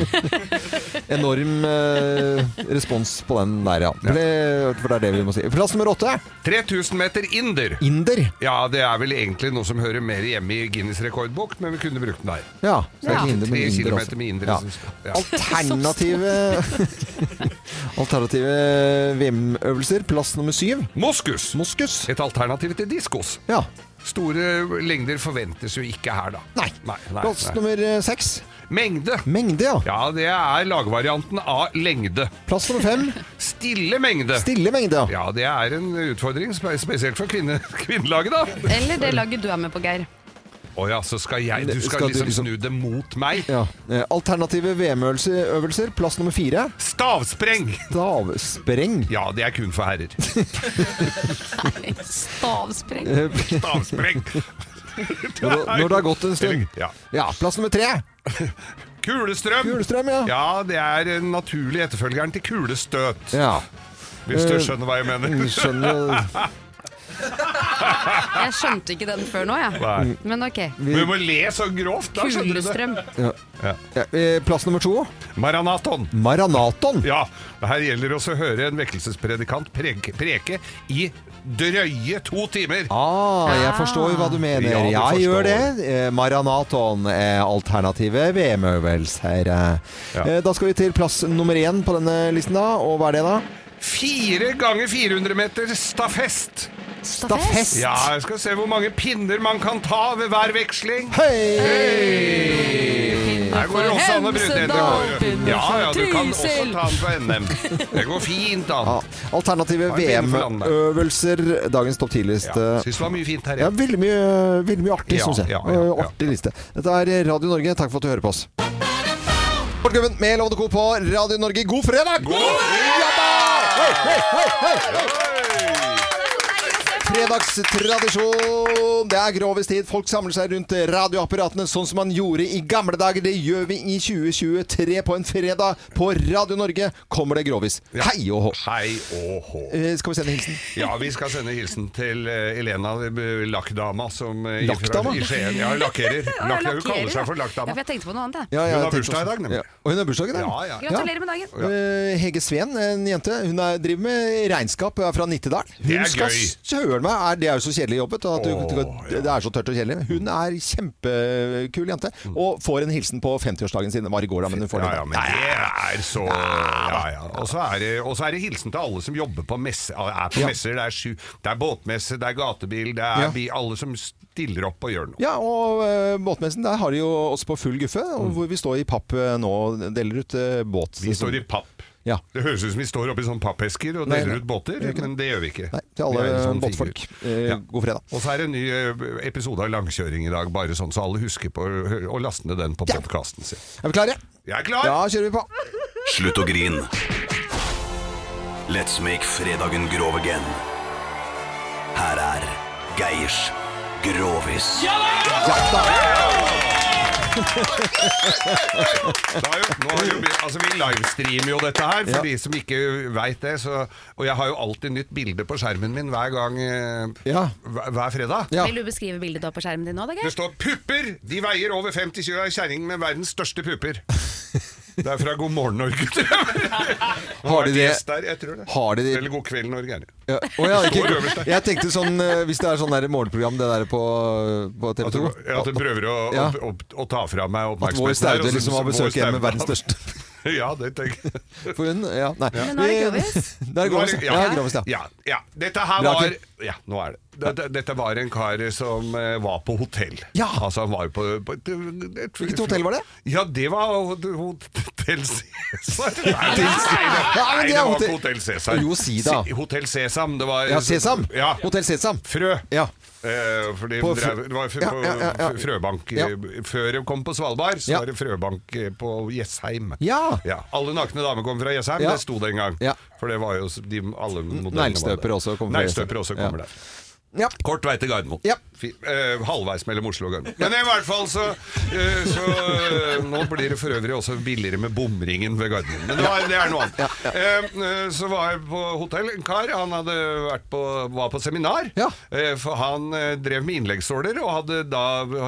Enorm eh, respons på den der, ja. For det, for det er det vi må si. Plass nummer åtte.
3000 meter inder.
Inder?
Ja, det er vel egentlig noe som hører mer hjemme i Guinness rekordbok, men vi kunne brukt den der.
Ja. Så det er
Ja.
ikke hinder, men
Tre
inder
kilometer
også.
med liksom. inder,
Ja.
synes jeg. Ja.
Alternative Alternative VM-øvelser. Plass nummer syv.
Moskus.
Moskus.
Et alternativ til diskos.
Ja.
Store lengder forventes jo ikke her, da. Nei. nei, nei,
Plass nummer eh, seks.
Mengde.
Mengde, ja.
Ja, det er lagvarianten av lengde.
Plass nummer fem.
Stille mengde.
Stille mengde,
ja. det er en utfordring, spe- spesielt for kvinne, kvinnelaget, da.
Eller det laget du er med på, Geir.
Å ja, så skal jeg Du skal,
Skal du
liksom,
liksom-
snu det mot meg?
Ja. Eh, Alternative VM-øvelser. Plass nummer fire.
Stavspreng!
Stavspreng.
Ja, det er kun for herrer.
Stavspreng.
Stavspreng.
Når, det- når det har gått en stund.
Ja.
Plass nummer tre.
Kulestrøm!
Kulestrøm, ja.
ja, det er en naturlig etterfølgeren til kulestøt.
Ja.
Hvis du
Eh,
skjønner hva jeg mener.
skjønner.
Jeg skjønte ikke den før nå,
Nei.
jeg. Men ok.
Vi må le så grovt, da skjønner du det.
Kulestrøm.
Ja. Ja, eh, Plass nummer to.
Maranaton.
Maranaton.
Ja, her gjelder det også å høre en vekkelsespredikant preke, preke i drøye to timer.
Ah, jeg forstår hva du mener.
Ja,
Ja,
du
jeg
forstår.
gjør det. Eh, Maranaton er alternative VM-øvelser. Eh, Da skal vi til plass nummer én på denne listen, da. Og hva er det, da?
Fire ganger 400 meter stafest.
Stafest?
Ja, jeg skal se hvor mange pinner man kan ta ved hver veksling.
Hei!
Her går det også an å bruke den til håret.
Hemsedal,
Ja, ja, du kan også
Trysil.
ta den på NM. Det går fint, da.
Ja, alternative
Hva er det for land, da?
VM-øvelser. Dagens topp 10-liste.
Ja, synes det var mye fint her, ja.
Ja, veldig mye, veldig mye artig,
Ja,
syns jeg.
ja, ja, ja.
Og Artig liste. Dette er Radio Norge. Takk for at du hører på oss. Morgenklubben med Lovende Co på Radio Norge. God fredag! Ja da! Hei, hei, hei, hei, hei! Fredagstradisjon. Det er grovis tid. Folk samler seg rundt radioapparatene sånn som man gjorde i gamle dager. Det gjør vi i 2023 på en fredag. På Radio Norge kommer det grovis. Hei og hå.
Hei og hå.
Eh, Skal vi sende hilsen?
Ja, vi skal sende hilsen til eh, Elena eh, Lakkdama som eh,
Lakkdama?
i Skien. Ja, lakkerer.
Å, jeg
Lakker, hun
lakkerer,
kaller
ja.
seg for
Ja,
Lakkdama.
for jeg tenkte på noe annet, jeg.
Ja, ja,
Hun
jeg
har
tenkte
bursdag i
også-
dag, nemlig.
Ja. Og hun har bursdag i dag?
Ja, ja.
Gratulerer med dagen.
Ja. Eh, Hege Sveen, en jente, hun er, driver med regnskap og er fra Nittedal. Hun
Det er
skal
gøy.
søren meg, er, Det er jo så kjedelig jobbet. At du, Det er så tørt og kjedelig. Hun er kjempekul jente, og får en hilsen på 50-årsdagen sin. Det var i går, da, men hun får
Mm. Ja,
den.
ja, men det er så ja, ja. Og så er, det- og så er det hilsen til alle som jobber på messe, er på
Ja.
messer. Det er, sju, det er båtmesse, det er gatebil, det er
Ja.
bi, alle som stiller opp og gjør noe.
Ja, og eh, båtmessen, der har de jo oss på full guffe, og hvor vi står i papp eh, nå og deler ut eh, båt.
Mm. Vi står i papp.
Ja.
Det høres ut som vi står oppi sånn pappesker og
Nei,
deler
nei.
ut båter,
Gjør ikke det.
men det gjør vi ikke.
Nei, til alle
Vi er en
båtfolk.
figur.
Eh, god fredag.
Og så er det en ny eh, episode av Langkjøring i dag, bare sånn så alle husker på å- å laste ned den på podkasten sin.
Er vi klare?
Jeg er klar!
Da kjører vi på.
Slutt å grine. Let's make fredagen grov again. Her er Geirs Grovis.
Da har jo, nå har jo, vi- altså vi livestreamer jo dette her, for
Ja.
de som ikke veit det. Så, og jeg har jo alltid nytt bilde på skjermen min hver gang eh, hver, hver fredag.
Vil du beskrive bildet du har på skjermen din nå, da,
Det
Geir?
står 'pupper'! De veier over 50 kg, ei kjerring med verdens største pupper. Det er fra God morgen Norge.
Har de
vært
det?
gjest Der, jeg tror det.
Har de det?
Eller God kveld Norge. er det.
Ja. å ja,
Det står øverst
ikke,
der.
jeg tenkte sånn eh, Hvis det er sånn der morgenprogram, det der på, på TV
At du,
2
at du prøver å, å,
Ja.
å, å ta fra meg
At Vår
oppmerksomheten.
Staude
her, og så-
liksom har
så-
besøk
Vår
hjemme med
Staude-
verdens største
Ja, det tenker jeg.
For hun, ja, nei
Ja. Men
nå er det
Vi-
grovis.
Da er det grovis, ja. Ja, grovis, ja.
Ja, ja. Dette her
Bra,
var
Kim.
Ja, nå er det. Dette, dette var en kar som eh, var på hotell. Altså, han var på, på et, et,
Hvilket hotell var det?
Ja, det var ho- ho- Hotell Cæsar. Nei,
Til- Ja, men
nei,
det er
det var
hotell-
ikke Hotell Cæsar.
Jo, si da.
Se- Hotell Sesam. Det var
Ja, Sesam.
Ja.
Hotell Sesam.
Frø.
Ja.
Eh, for de
På
drev,
Frø-
det var fr
Ja,
på
ja, ja, ja.
Frøbank
Ja.
eh, Før de kom på Svalbard, så
Ja.
var det Frøbank eh, på Jessheim.
Ja.
Alle nakne damer kom fra Jessheim,
Ja.
det sto det en gang. For det var jo s- de, alle modellene var der.
Neglestøpere også kommer fra
Neglestøpere også
Jessheim.
kommer
Ja.
der. Kort vei til Gardermoen. Fi- eh, halvveis mellom Oslo og Gardermoen. Men i hvert fall så, eh, så eh, Nå blir det for øvrig også billigere med bomringen ved Gardermoen. Men det, var, det er noe annet. Eh, eh, så var jeg på hotell. En kar han hadde vært på, var på seminar. Eh, for han eh, drev med innleggssåler, og hadde da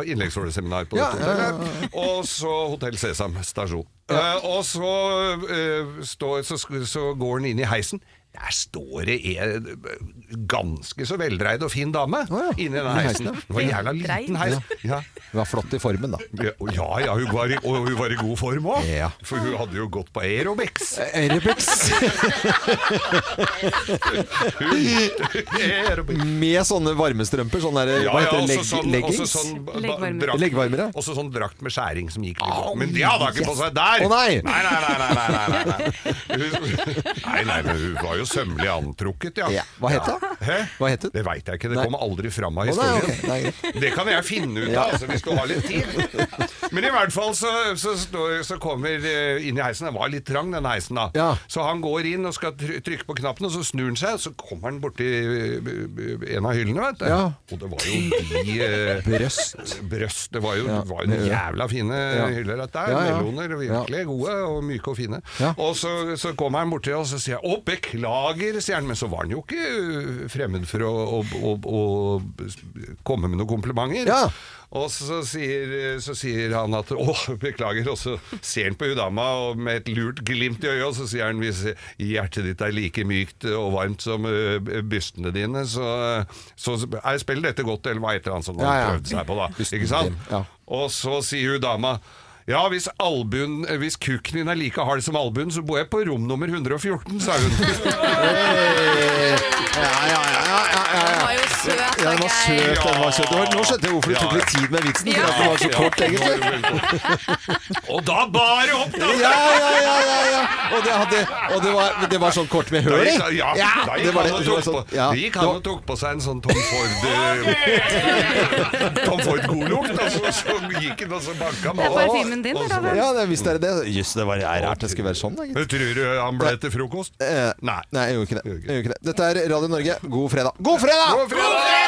innleggssåleseminar på dette hotellet. Og så Hotell Sesam stasjon. Eh, og så, eh, står, så, sk- så går han inn i heisen. Der står det en ganske så veldreid og fin dame inni den
I
heisen.
heisen, ja.
Det var en jævla liten heis. Ja.
Hun var flott i formen, da.
Ja, ja, hun var i, og hun var i god form òg.
Ja.
For hun hadde jo gått på aerobics.
Aerobics. Med sånne varmestrømper. Sånn der, hva heter det? Leg
også sånn, også
leggings?
sånn ba- drakt-
Leggvarmere.
Også sånn drakt med skjæring som gikk litt opp. Men det hadde hun ikke på seg der!
Å, nei.
Nei, nei, nei, nei, nei, nei, nei, nei. Nei, nei, men hun var jo sømmelig antrukket, ja.
Ja, hva het
hun?
Hva het hun?
Det veit jeg ikke, det kommer aldri fram av
Å, nei,
historien.
ok, nei, greit.
Det kan jeg finne ut av,
Ja.
altså, hvis du har litt tid. Men i hvert fall så, så, står- så kommer eh, inn i heisen, den var litt trang den heisen da. Så han går inn og skal try- trykke på knappen, og så snur han seg, og så kommer han borti eh, b- b- en av hyllene, vet du.
Ja.
Og det var jo de eh,
Brøst.
Brøst, det var jo,
Ja,
var jo
det-
jævla fine
Ja.
hyller dette her.
Ja, ja.
Meloner, virkelig gode og myke og fine. Og så, så kommer han borti og så sier jeg, å beklager, sier han, men så var han jo ikke ø, fremmed for å, å, å, å komme med noen komplimenter. Og så sier, så sier han at å, beklager, og så ser han på hun dama og med et lurt glimt i øyet, og så sier han hvis hjertet ditt er like mykt og varmt som ø, bystene dine, så, så er, spiller dette godt, eller hva heter han som
Ja, ja.
han prøvde seg på, da. Ikke sant? Og så sier hun dama ja, hvis, albuen, eh, hvis kuken din er like hard som albuen, så bor jeg på rom nummer 114, sa hun.
Den
var jo søt, da,
Ja, den var søt. Den var søt. Det var- Nå skjønte jeg hvorfor du tok litt tid med vitsen, for at den var så kort, egentlig.
Og da bar det opp, da!
Ja, ja, ja, ja, ja. Og, det, hadde, og det, var, det var sånn kort med
Da
høl i.
gikk, ja, da gikk
det var
han
det. det
og
var
tok
sånn,
på-
ja.
da gikk han og tok på seg en sånn Tom Ford eh, Tom Ford godlukt, og så, så gikk han og så banka
Det er parfymen din,
og så-
Robert.
Ja, det, hvis det er det. Jøss, det var rart det skulle være sånn. Da,
Men Tror du han ble til frokost?
Eh, Nei, jeg gjorde ikke det. Jeg gjorde ikke det. Dette er Radio Norge. God fredag. God fredag!
God fredag!